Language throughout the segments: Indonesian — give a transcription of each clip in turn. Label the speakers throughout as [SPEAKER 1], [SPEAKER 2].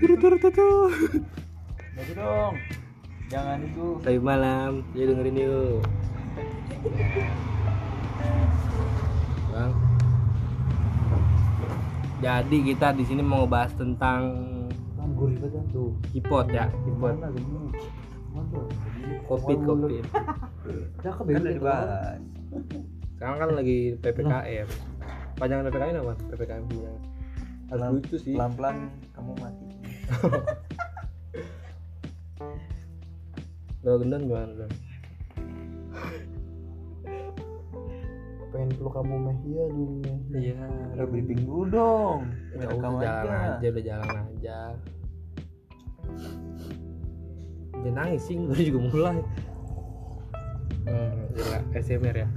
[SPEAKER 1] Turu turu turu.
[SPEAKER 2] Jadi dong. Jangan itu.
[SPEAKER 1] Tapi malam, ya dengerin yuk. Bang. Jadi kita di sini mau bahas tentang
[SPEAKER 2] Kan gurih banget tuh.
[SPEAKER 1] hipot ya, hipot.
[SPEAKER 2] Gimana gini? Gimana tuh?
[SPEAKER 1] Covid, covid.
[SPEAKER 2] Dah kebetulan
[SPEAKER 3] udah
[SPEAKER 2] itu
[SPEAKER 3] dibahas.
[SPEAKER 2] orang.
[SPEAKER 1] Sekarang kan lagi PPKM. Panjangan PPKM apa? PPKM bulan. Harus
[SPEAKER 2] Pelan-
[SPEAKER 1] lucu sih.
[SPEAKER 2] Pelan-pelan kamu mati.
[SPEAKER 1] Kalau gendon gimana? Don?
[SPEAKER 3] pengen peluk kamu meh iya dulu meh Ya
[SPEAKER 1] Iya,
[SPEAKER 2] Udah briefing dulu dong.
[SPEAKER 1] udah
[SPEAKER 2] Biar rekam
[SPEAKER 1] udah jalan aja. udah jalan aja. Jangan nangis sih, gue juga mulai. Hmm, gila, SMR ya.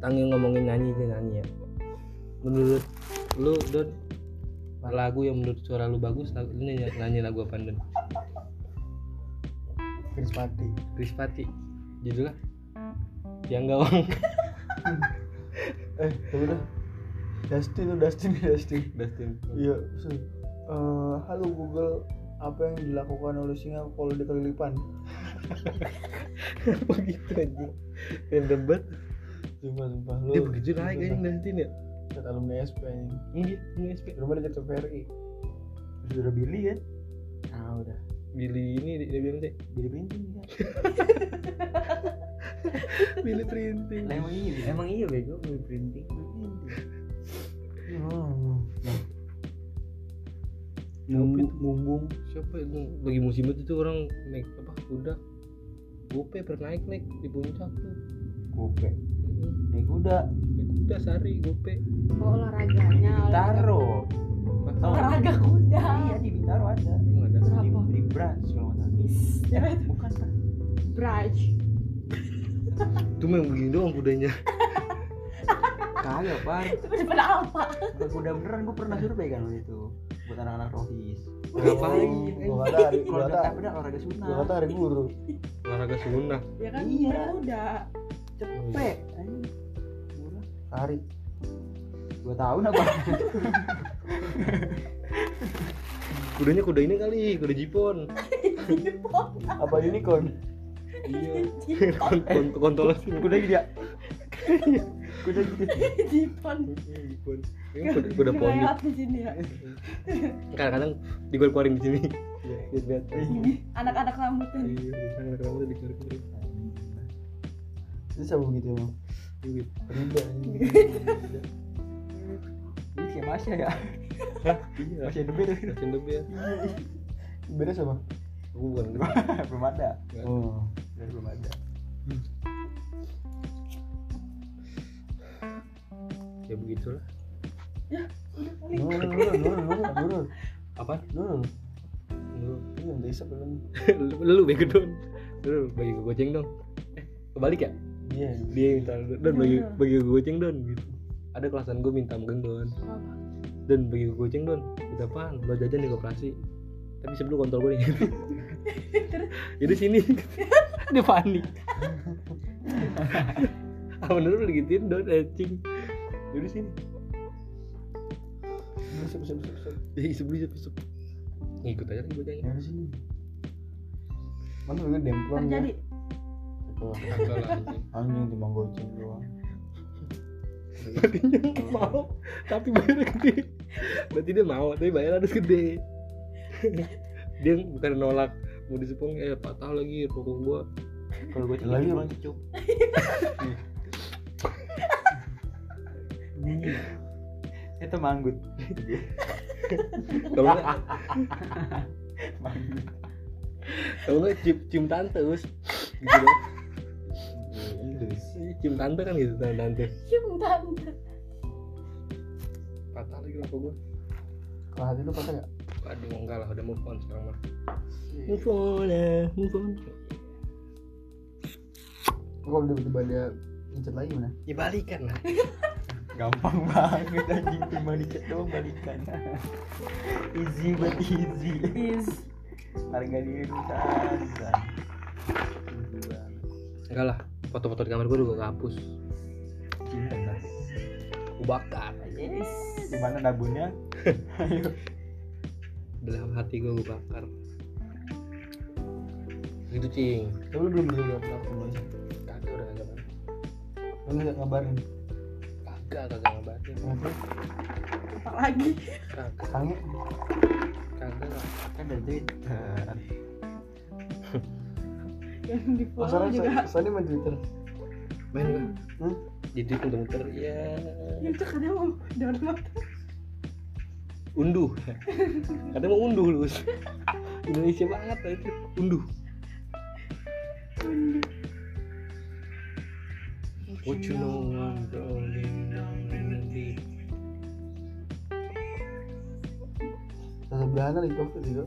[SPEAKER 1] Tanggil ngomongin nyanyi aja nyanyi ya. Menurut lu Don lagu yang menurut suara lu bagus lagu, lu nyanyi, nyanyi lagu apa Don?
[SPEAKER 3] Krispati
[SPEAKER 1] Krispati judulnya yang gawang
[SPEAKER 3] eh coba dah Dustin tuh Dustin Dustin
[SPEAKER 1] Dustin
[SPEAKER 3] iya so, eh, halo Google apa yang dilakukan oleh singa kalau dikelipan
[SPEAKER 1] apa gitu anjing random banget
[SPEAKER 3] sumpah sumpah lu
[SPEAKER 2] Oh,
[SPEAKER 1] dia
[SPEAKER 2] iya,
[SPEAKER 1] begitu naik anjing Dustin ya
[SPEAKER 3] Cet alumni SP anjing
[SPEAKER 1] ini ini SP
[SPEAKER 3] rumah dekat TVRI
[SPEAKER 2] Sudah Billy kan?
[SPEAKER 3] ah udah
[SPEAKER 1] Billy ini dia bilang sih
[SPEAKER 2] Billy Binting
[SPEAKER 3] iya.
[SPEAKER 2] kan?
[SPEAKER 1] Billy printing Hmm,
[SPEAKER 2] Lah, emang iya. Emang iya bego Billy Binting.
[SPEAKER 3] Hmm. mumbung mumbung
[SPEAKER 1] siapa itu lagi musim itu tuh orang naik apa kuda gope pernah naik naik di puncak tuh
[SPEAKER 2] Gope.
[SPEAKER 1] Mhm.
[SPEAKER 2] Naik kuda.
[SPEAKER 1] naik kuda sari gope
[SPEAKER 4] Oh, olahraganya
[SPEAKER 2] Taro.
[SPEAKER 1] Masa-
[SPEAKER 2] Tau nggak?
[SPEAKER 4] olahraga kuda
[SPEAKER 2] Iya di Bintaro ada.
[SPEAKER 1] emang ada
[SPEAKER 2] Di,
[SPEAKER 4] Berapa?
[SPEAKER 2] di Branch kalau nggak salah.
[SPEAKER 4] Is-
[SPEAKER 2] Eh, bukan lah.
[SPEAKER 4] Braj
[SPEAKER 1] tuh memang begini doang kudanya
[SPEAKER 2] Kagak, Pak.
[SPEAKER 4] daripada apa
[SPEAKER 2] Bukan kuda beneran, gue pernah survei kan waktu itu buat anak-anak rohis.
[SPEAKER 1] ngapain
[SPEAKER 2] iya.
[SPEAKER 3] gua kata hari
[SPEAKER 2] Kalau
[SPEAKER 3] gua
[SPEAKER 2] ada
[SPEAKER 3] kata
[SPEAKER 2] tak benar olahraga sunnah.
[SPEAKER 3] gua kata hari guru
[SPEAKER 1] olahraga sunnah
[SPEAKER 4] ya kan
[SPEAKER 2] Iya.
[SPEAKER 4] kuda
[SPEAKER 2] cepet. anjing. Murah.
[SPEAKER 3] hari
[SPEAKER 2] Dua tahun apa?
[SPEAKER 1] kudanya kuda ini kali kuda jipon
[SPEAKER 3] apa unicorn
[SPEAKER 1] iya Kont- kont- kontolan sih
[SPEAKER 2] kuda gitu ya? kuda gitu.
[SPEAKER 4] jipon
[SPEAKER 1] jipon Ini kuda, kuda poni
[SPEAKER 4] Ngeliat di sini ya
[SPEAKER 1] kadang-kadang dikeluarin di sini
[SPEAKER 2] Iya.
[SPEAKER 1] lihat
[SPEAKER 4] ini anak-anak rambutnya
[SPEAKER 1] Iya.
[SPEAKER 4] nih.
[SPEAKER 1] kamu di dikeluarin
[SPEAKER 3] itu sama gitu emang
[SPEAKER 1] duit
[SPEAKER 3] Rimba anjing.
[SPEAKER 2] Ini kayak Masya ya?
[SPEAKER 1] iya
[SPEAKER 2] Masya Debe tuh.
[SPEAKER 1] Masin lebih ya
[SPEAKER 3] beda sama
[SPEAKER 1] gue bukan lebih
[SPEAKER 2] Belum ada.
[SPEAKER 1] Nggak.
[SPEAKER 3] oh
[SPEAKER 2] Bener, Belum ada.
[SPEAKER 1] ya begitulah
[SPEAKER 3] nurun nurun nurun nurun nurun
[SPEAKER 1] apa
[SPEAKER 3] nurun
[SPEAKER 1] lu
[SPEAKER 3] ini yang desa Iya, belum
[SPEAKER 1] lu bego don lu bagi gue goceng dong Eh, kebalik ya
[SPEAKER 3] iya
[SPEAKER 1] dia yang minta lu, don bagi bagi gue goceng don gitu ada kelasan gue minta mungkin don
[SPEAKER 4] Apa?
[SPEAKER 1] don bagi gue goceng don udah apaan lo jajan di koperasi tapi sebelum kontol gue nih jadi sini dia panik ah bener lu digituin don anjing jadi sini
[SPEAKER 3] bisa bisa bisa bisa
[SPEAKER 1] Ya isep dulu isep isep Ngikut aja lagi bocahnya
[SPEAKER 3] yang di sini mana gue demplon ya
[SPEAKER 4] terjadi
[SPEAKER 3] Tuh,
[SPEAKER 1] Kagak lah anjing.
[SPEAKER 3] ya? anjing di manggocin doang
[SPEAKER 1] Berarti dia mau Tapi bayarnya gede Berarti dia mau Tapi bayarnya harus gede Dia bukan nolak Mau disepong Eh patah lagi rokok gua
[SPEAKER 2] Kalau gue
[SPEAKER 3] Lagi.
[SPEAKER 2] lagi orang cukup.
[SPEAKER 3] Iya.
[SPEAKER 2] Iya. Itu manggut.
[SPEAKER 1] Kalau nggak Kalau nggak cium, cium tante us Gitu loh Cium tante kan gitu tante, tante.
[SPEAKER 4] cium tante
[SPEAKER 1] Patah lagi rokok gua
[SPEAKER 3] kalau hati lu patah gak?
[SPEAKER 1] Aduh enggak lah udah move on sekarang mah Move on lah Move on
[SPEAKER 3] Lu kalau tiba-tiba dia incet lagi mana?
[SPEAKER 1] Ya balikan lah
[SPEAKER 2] Gampang banget anjing cuma dicet doang balikan. easy but easy.
[SPEAKER 4] is
[SPEAKER 2] Harga diri lu santai. Easy banget.
[SPEAKER 1] Enggak lah Foto-foto di kamar gua udah gua hapus
[SPEAKER 2] Cinta banget.
[SPEAKER 1] bakar
[SPEAKER 4] Yes.
[SPEAKER 2] di mana dagunya ayo
[SPEAKER 1] dalam hati gue gue bakar gitu cing
[SPEAKER 2] tapi lu belum belum belum belum belum
[SPEAKER 1] kagak udah kagak banget.
[SPEAKER 2] lu nggak ngabarin
[SPEAKER 1] kagak kagak ngabarin
[SPEAKER 2] ngobrol
[SPEAKER 4] Apa lagi?
[SPEAKER 1] kagak
[SPEAKER 2] kangen
[SPEAKER 1] kagak lah.
[SPEAKER 2] kan dari cerita
[SPEAKER 4] Yang di follow
[SPEAKER 2] masalah
[SPEAKER 4] juga.
[SPEAKER 2] Sony main Twitter
[SPEAKER 1] main lah
[SPEAKER 2] Hmm?
[SPEAKER 1] jadi muter-muter ya
[SPEAKER 4] Yang tuh kadang mau daun mata.
[SPEAKER 1] unduh katanya mau unduh lu Indonesia banget lah itu unduh What you know I'm rolling down in the deep.
[SPEAKER 2] Tata
[SPEAKER 3] kan
[SPEAKER 2] belahan di covid juga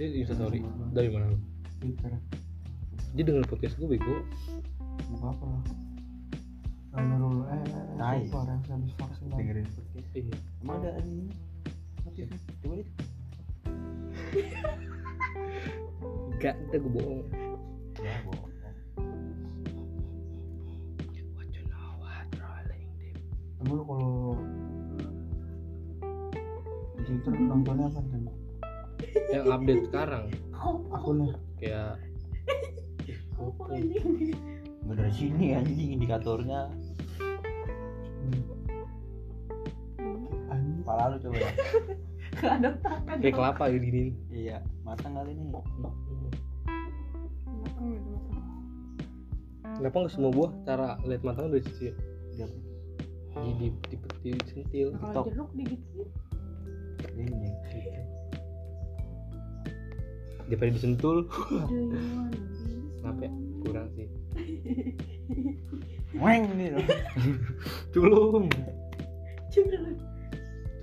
[SPEAKER 1] Dia di Instastory. dari mana lu?
[SPEAKER 2] Twitter
[SPEAKER 1] Dia dengerin podcast gue bego.
[SPEAKER 2] nggak apa lah
[SPEAKER 3] Nurul eh,
[SPEAKER 2] Tai.
[SPEAKER 3] eh super yang habis vaksin
[SPEAKER 2] dengerin podcast
[SPEAKER 1] Iya.
[SPEAKER 2] emang ada anjing
[SPEAKER 3] kan.
[SPEAKER 2] notifnya coba deh
[SPEAKER 1] Enggak, ntar gue bohong.
[SPEAKER 2] ya bohong
[SPEAKER 1] What you know I'm rolling deep.
[SPEAKER 3] Emang lu kalau
[SPEAKER 2] di Twitter nontonnya apa kan
[SPEAKER 1] Yang update sekarang
[SPEAKER 4] Apa?
[SPEAKER 3] akunnya
[SPEAKER 1] kayak
[SPEAKER 4] Apa ini?
[SPEAKER 2] nggak dari sini anjing indikatornya
[SPEAKER 3] anjing
[SPEAKER 2] pala lu coba ya
[SPEAKER 4] Gak ada kan? takan.
[SPEAKER 1] kayak kelapa ya dinin.
[SPEAKER 2] iya matang kali ini
[SPEAKER 1] Kenapa nggak semua buah cara lihat matangnya dari sisi
[SPEAKER 2] Dia
[SPEAKER 1] ya? di di di, di, sentil
[SPEAKER 4] Nah, Kalau
[SPEAKER 2] Tok.
[SPEAKER 4] jeruk digigit sih.
[SPEAKER 2] ini
[SPEAKER 1] gitu. Daripada disentul
[SPEAKER 4] Do you wanna
[SPEAKER 1] Kenapa
[SPEAKER 4] be
[SPEAKER 1] ya? kurang sih.
[SPEAKER 2] weng nih loh
[SPEAKER 1] Culum.
[SPEAKER 4] Jeruk.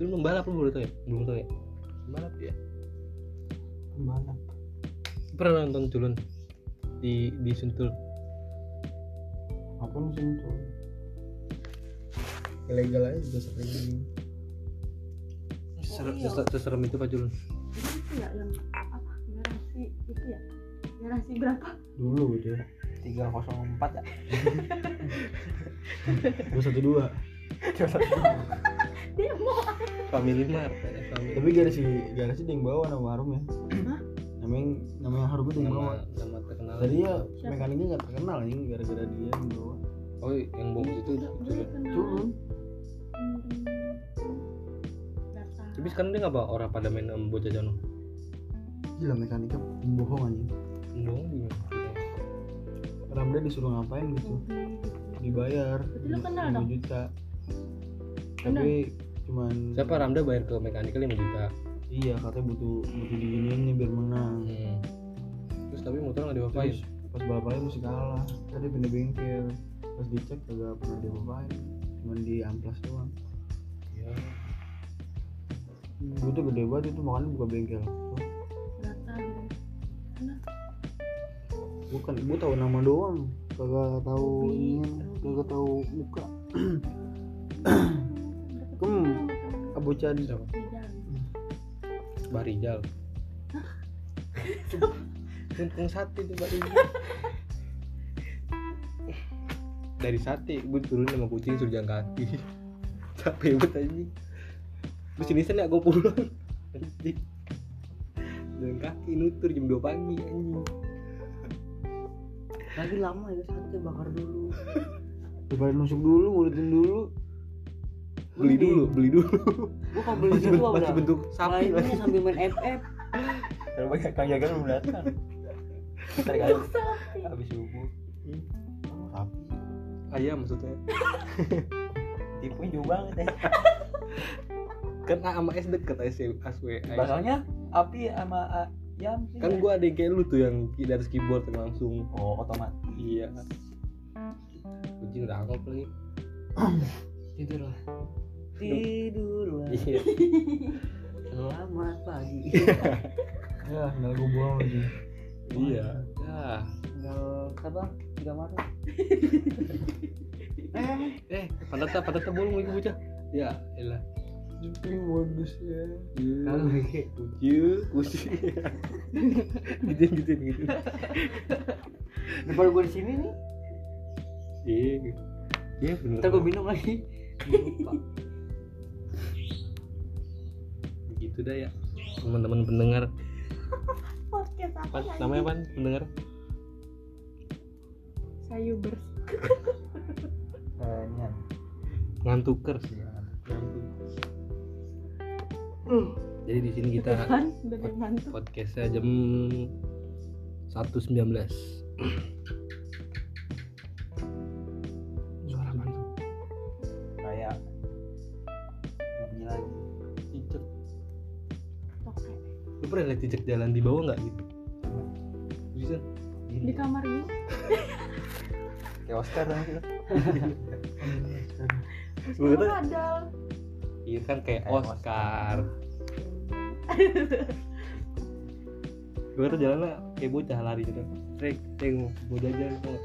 [SPEAKER 1] Culum membalap lu baru tau ya? Belum tau ya? Membalap ya?
[SPEAKER 3] mana
[SPEAKER 1] Pernah nonton culun di di sentul
[SPEAKER 3] apa lu sih tuh ilegal aja juga sering ini
[SPEAKER 1] Ser-
[SPEAKER 4] Oh, iya.
[SPEAKER 1] seser- seserem itu Pak Julun
[SPEAKER 4] Jadi itu ya yang apa? Garasi itu ya. Garasi berapa?
[SPEAKER 3] dulu dia
[SPEAKER 2] 304 ya
[SPEAKER 3] dua satu dua
[SPEAKER 4] Dia mau
[SPEAKER 1] Family Mart ya, family.
[SPEAKER 3] tapi garasi garasi di yang bawah nama warung ya
[SPEAKER 4] Hah? Iya.
[SPEAKER 3] namanya namanya harumnya di yang bawah
[SPEAKER 1] nama nama terkenal
[SPEAKER 3] tadi ya
[SPEAKER 4] Siapa?
[SPEAKER 3] mekaniknya nggak terkenal anjing gara-gara dia di bawah
[SPEAKER 1] oh yang box itu
[SPEAKER 4] Iya,
[SPEAKER 1] Julun
[SPEAKER 3] turun
[SPEAKER 1] tapi sekarang dia nggak apa orang pada main sama bocah jono
[SPEAKER 3] gila mekaniknya bohong anjing
[SPEAKER 1] dong
[SPEAKER 3] Ramda disuruh ngapain gitu dibayar
[SPEAKER 4] Mm. Berarti lu kenal dong?
[SPEAKER 3] juta tapi cuman
[SPEAKER 1] siapa Ramda bayar ke mekanikal 5 juta
[SPEAKER 3] iya katanya butuh butuh diginiin nih biar menang
[SPEAKER 1] hmm. terus tapi motor nggak diapain
[SPEAKER 3] Terus pas bapaknya mesti kalah tadi pindah bengkel pas dicek kagak pernah diapain cuman di amplas doang
[SPEAKER 1] ya.
[SPEAKER 4] Hmm.
[SPEAKER 3] gue tuh gede banget itu makanya buka bengkel bukan gue tahu nama doang kagak tahu ini kagak tahu muka Kem. abu cadi
[SPEAKER 1] siapa Barijal untung sate tuh Barijal dari sate gue turun sama kucing suruh jalan kaki capek banget anjing terus ini sana gue pulang anjing jalan kaki nutur jam 2 pagi anjing
[SPEAKER 3] lagi lama ya sate bakar dulu daripada nusuk dulu ngulutin dulu
[SPEAKER 1] beli dulu beli dulu
[SPEAKER 3] gue kalau beli
[SPEAKER 1] masih,
[SPEAKER 3] gitu
[SPEAKER 1] bentuk, masih
[SPEAKER 3] udah
[SPEAKER 1] bentuk sapi
[SPEAKER 3] lainnya
[SPEAKER 1] lagi
[SPEAKER 3] sambil main FF
[SPEAKER 2] kalau banyak kang jaga belum datang ntar kali habis subuh
[SPEAKER 1] Hmm.
[SPEAKER 2] Oh, sapi
[SPEAKER 1] ayam maksudnya
[SPEAKER 2] tipunya jauh banget ya
[SPEAKER 1] kan A sama S deket AS- ASW AS.
[SPEAKER 2] Bakalnya api sama a- yam sih.
[SPEAKER 1] kan gue ada yang kayak lu tuh yang dari keyboard yang langsung
[SPEAKER 2] Oh, otomatis.
[SPEAKER 1] Iya. Kucing udah angkop lagi.
[SPEAKER 2] Tidur lah. Tidur lah.
[SPEAKER 1] Iya.
[SPEAKER 2] Selamat pagi.
[SPEAKER 3] ya tinggal gue buang aja
[SPEAKER 1] iya. Nah,
[SPEAKER 2] Tinggal apa? Tiga malam.
[SPEAKER 1] eh, pada tak pada tak bolong lagi bocah. Ya, elah.
[SPEAKER 3] tapi modus ya
[SPEAKER 1] Kalau kayak kucing, kucing. gitu gitu gitu.
[SPEAKER 2] Daripada gue di sini nih.
[SPEAKER 1] Iya. Iya bener.
[SPEAKER 2] Ntar gue minum lagi. Lupa.
[SPEAKER 1] Begitu dah ya teman-teman pendengar.
[SPEAKER 4] podcast apa
[SPEAKER 1] Pan,
[SPEAKER 4] lagi?
[SPEAKER 1] namanya apa pendengar?
[SPEAKER 4] sayubers
[SPEAKER 2] Eh, Nian.
[SPEAKER 1] Ngantukers. Jadi di sini Hmm. kita
[SPEAKER 4] kan dari mantu
[SPEAKER 1] podcastnya jam 1.19 Suara apaan tuh?
[SPEAKER 2] Kayak lagi lagi.
[SPEAKER 1] Cicak.
[SPEAKER 4] Oke.
[SPEAKER 1] Lu pernah lihat cicak jalan di bawah nggak gitu? Bisa?
[SPEAKER 4] di kamar gue
[SPEAKER 2] Kayak Oscar dong kita.
[SPEAKER 1] Gua kata,
[SPEAKER 4] ada
[SPEAKER 1] Iya kan kayak
[SPEAKER 2] Kayak
[SPEAKER 1] Oscar. Gue tuh jalannya kayak bocah lari gitu. Trek, tengok, mau jajan mau.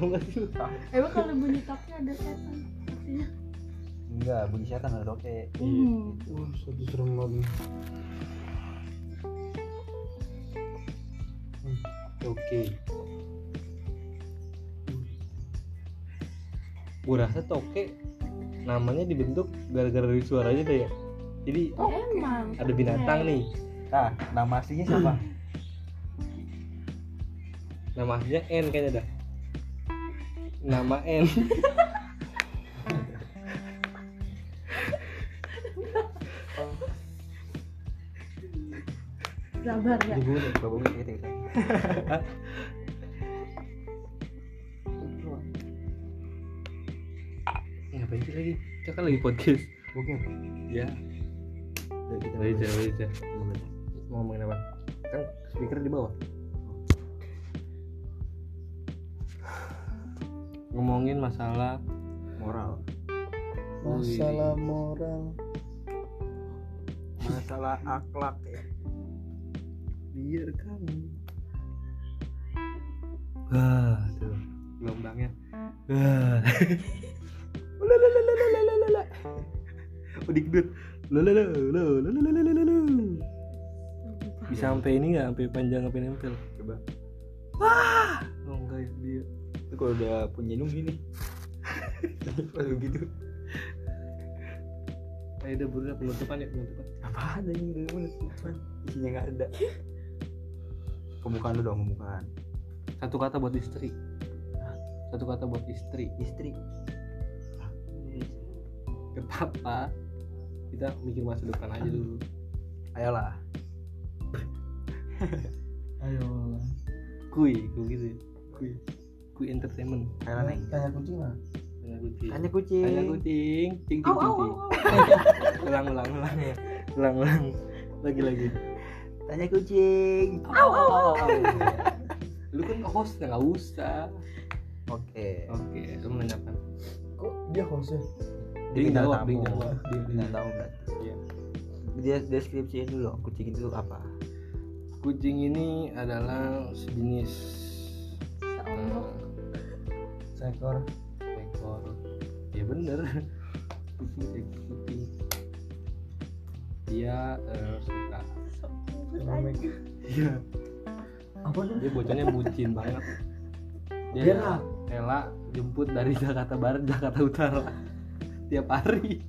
[SPEAKER 1] Tau gak sih lu?
[SPEAKER 4] emang kalau bunyi toknya ada setan artinya
[SPEAKER 2] Enggak, bunyi setan ada oke.
[SPEAKER 4] hmm.
[SPEAKER 3] Wah, satu serem banget.
[SPEAKER 1] Oke. Gue rasa toke namanya dibentuk gara-gara dari suaranya deh ya. Jadi
[SPEAKER 4] emang
[SPEAKER 1] ada binatang nih,
[SPEAKER 2] Nah, nama aslinya siapa?
[SPEAKER 1] nama aslinya N kayaknya dah. Nama N.
[SPEAKER 4] sabar ya
[SPEAKER 2] Ibu, bapak gue gitu gitu.
[SPEAKER 1] Ngapain sih lagi? Kita kan lagi podcast.
[SPEAKER 2] Oke.
[SPEAKER 1] Ya.
[SPEAKER 2] Udah, Kita
[SPEAKER 1] Dari
[SPEAKER 2] mulai.
[SPEAKER 1] aja. Mau ngomongin apa? Kan speaker di bawah. Ngomongin masalah
[SPEAKER 2] Moral.
[SPEAKER 3] Masalah moral.
[SPEAKER 2] Masalah akhlak ya.
[SPEAKER 1] biar kamu wah tuh gelombangnya wah Ulalalalalalala. udik dud Ulalalalalalalalalala. bisa sampai ini nggak sampai panjang sampai nempel
[SPEAKER 2] Coba.
[SPEAKER 1] oh enggak ya dia
[SPEAKER 2] Itu kalau udah punya hidung gini. Lalu gitu.
[SPEAKER 1] ayo udah buru dah, Eh, penutupan ya penutupan
[SPEAKER 2] Apa ada ini dari mana tutupan? Isinya nggak ada. Pembukaan lu dong, pembukaan.
[SPEAKER 1] satu kata buat istri satu kata buat istri
[SPEAKER 2] Istri.
[SPEAKER 1] gak apa-apa kita mikir masa depan aja dulu
[SPEAKER 2] Ayolah.
[SPEAKER 3] Ayo.
[SPEAKER 1] kui kui gitu ya kui kui entertainment
[SPEAKER 2] Ayolah neng.
[SPEAKER 3] Tanya kucing lah.
[SPEAKER 1] tanya kucing
[SPEAKER 2] Tanya kucing.
[SPEAKER 1] Tanya kucing cing cing
[SPEAKER 4] au au
[SPEAKER 1] cing
[SPEAKER 4] au
[SPEAKER 1] cing
[SPEAKER 4] au
[SPEAKER 1] ulang ulang ulang ya ulang ulang lagi lagi
[SPEAKER 2] Tanya kucing.
[SPEAKER 4] au au au
[SPEAKER 1] lu kan host nggak usah
[SPEAKER 2] Oke.
[SPEAKER 1] oke lu menanyakan
[SPEAKER 3] Kok dia ya? hostnya?
[SPEAKER 1] dia
[SPEAKER 2] bintang
[SPEAKER 1] jawab dia
[SPEAKER 2] tamu.
[SPEAKER 1] jawab dia
[SPEAKER 2] Nggak
[SPEAKER 1] jawab.
[SPEAKER 2] tahu berarti.
[SPEAKER 1] Iya.
[SPEAKER 2] Dia deskripsiin dulu dong, kucing itu apa?
[SPEAKER 1] kucing ini adalah sejenis
[SPEAKER 4] Seonggok.
[SPEAKER 3] Seekor.
[SPEAKER 1] eh, ekor ya bener kucing ekor kucing dia eh, suka iya
[SPEAKER 3] Apa tuh?
[SPEAKER 1] dia bocahnya bucin banget Ya.
[SPEAKER 3] Dia lah.
[SPEAKER 1] rela jemput dari Jakarta Barat Jakarta Utara tiap hari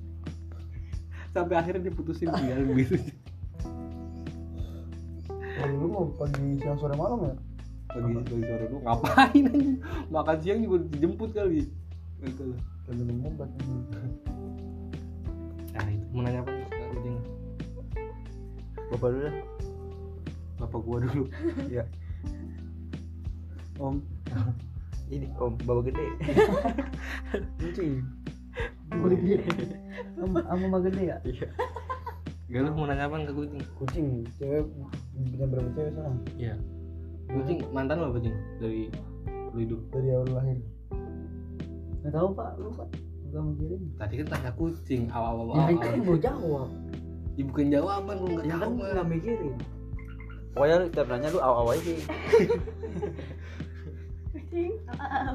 [SPEAKER 1] sampai akhirnya diputusin tinggal begitu
[SPEAKER 3] Lu mau pagi siang sore malam ya?
[SPEAKER 1] pagi pagi sore lu ngapain aja makan siang juga dijemput kali gitu loh
[SPEAKER 3] Kan minum obat.
[SPEAKER 1] nah itu mau nanya apa nih Kak Ruding?
[SPEAKER 2] Bapak dulu dah.
[SPEAKER 1] bapak gua dulu
[SPEAKER 2] Om. Ini Om, bapak gede.
[SPEAKER 3] Kucing. Kucing. Sama mah gede ya?
[SPEAKER 1] gak lu mau nanya apa ke kucing
[SPEAKER 3] Kucing. Cewek punya berapa cewek sekarang?
[SPEAKER 1] iya kucing mantan lo apa kucing dari lu hidup
[SPEAKER 3] Dari awal lahir. Enggak tahu Pak, lu Pak. Enggak mikirin.
[SPEAKER 1] tadi kan tanya kucing awal awal
[SPEAKER 3] Ya
[SPEAKER 1] awal
[SPEAKER 3] kan mau jawab.
[SPEAKER 1] ya, bukan jawaban lu nggak
[SPEAKER 3] Ya kan
[SPEAKER 1] jawaban
[SPEAKER 3] enggak mikirin.
[SPEAKER 2] Pokoknya lu tiap nanya lu aw-aw aja.
[SPEAKER 4] kucing au, au.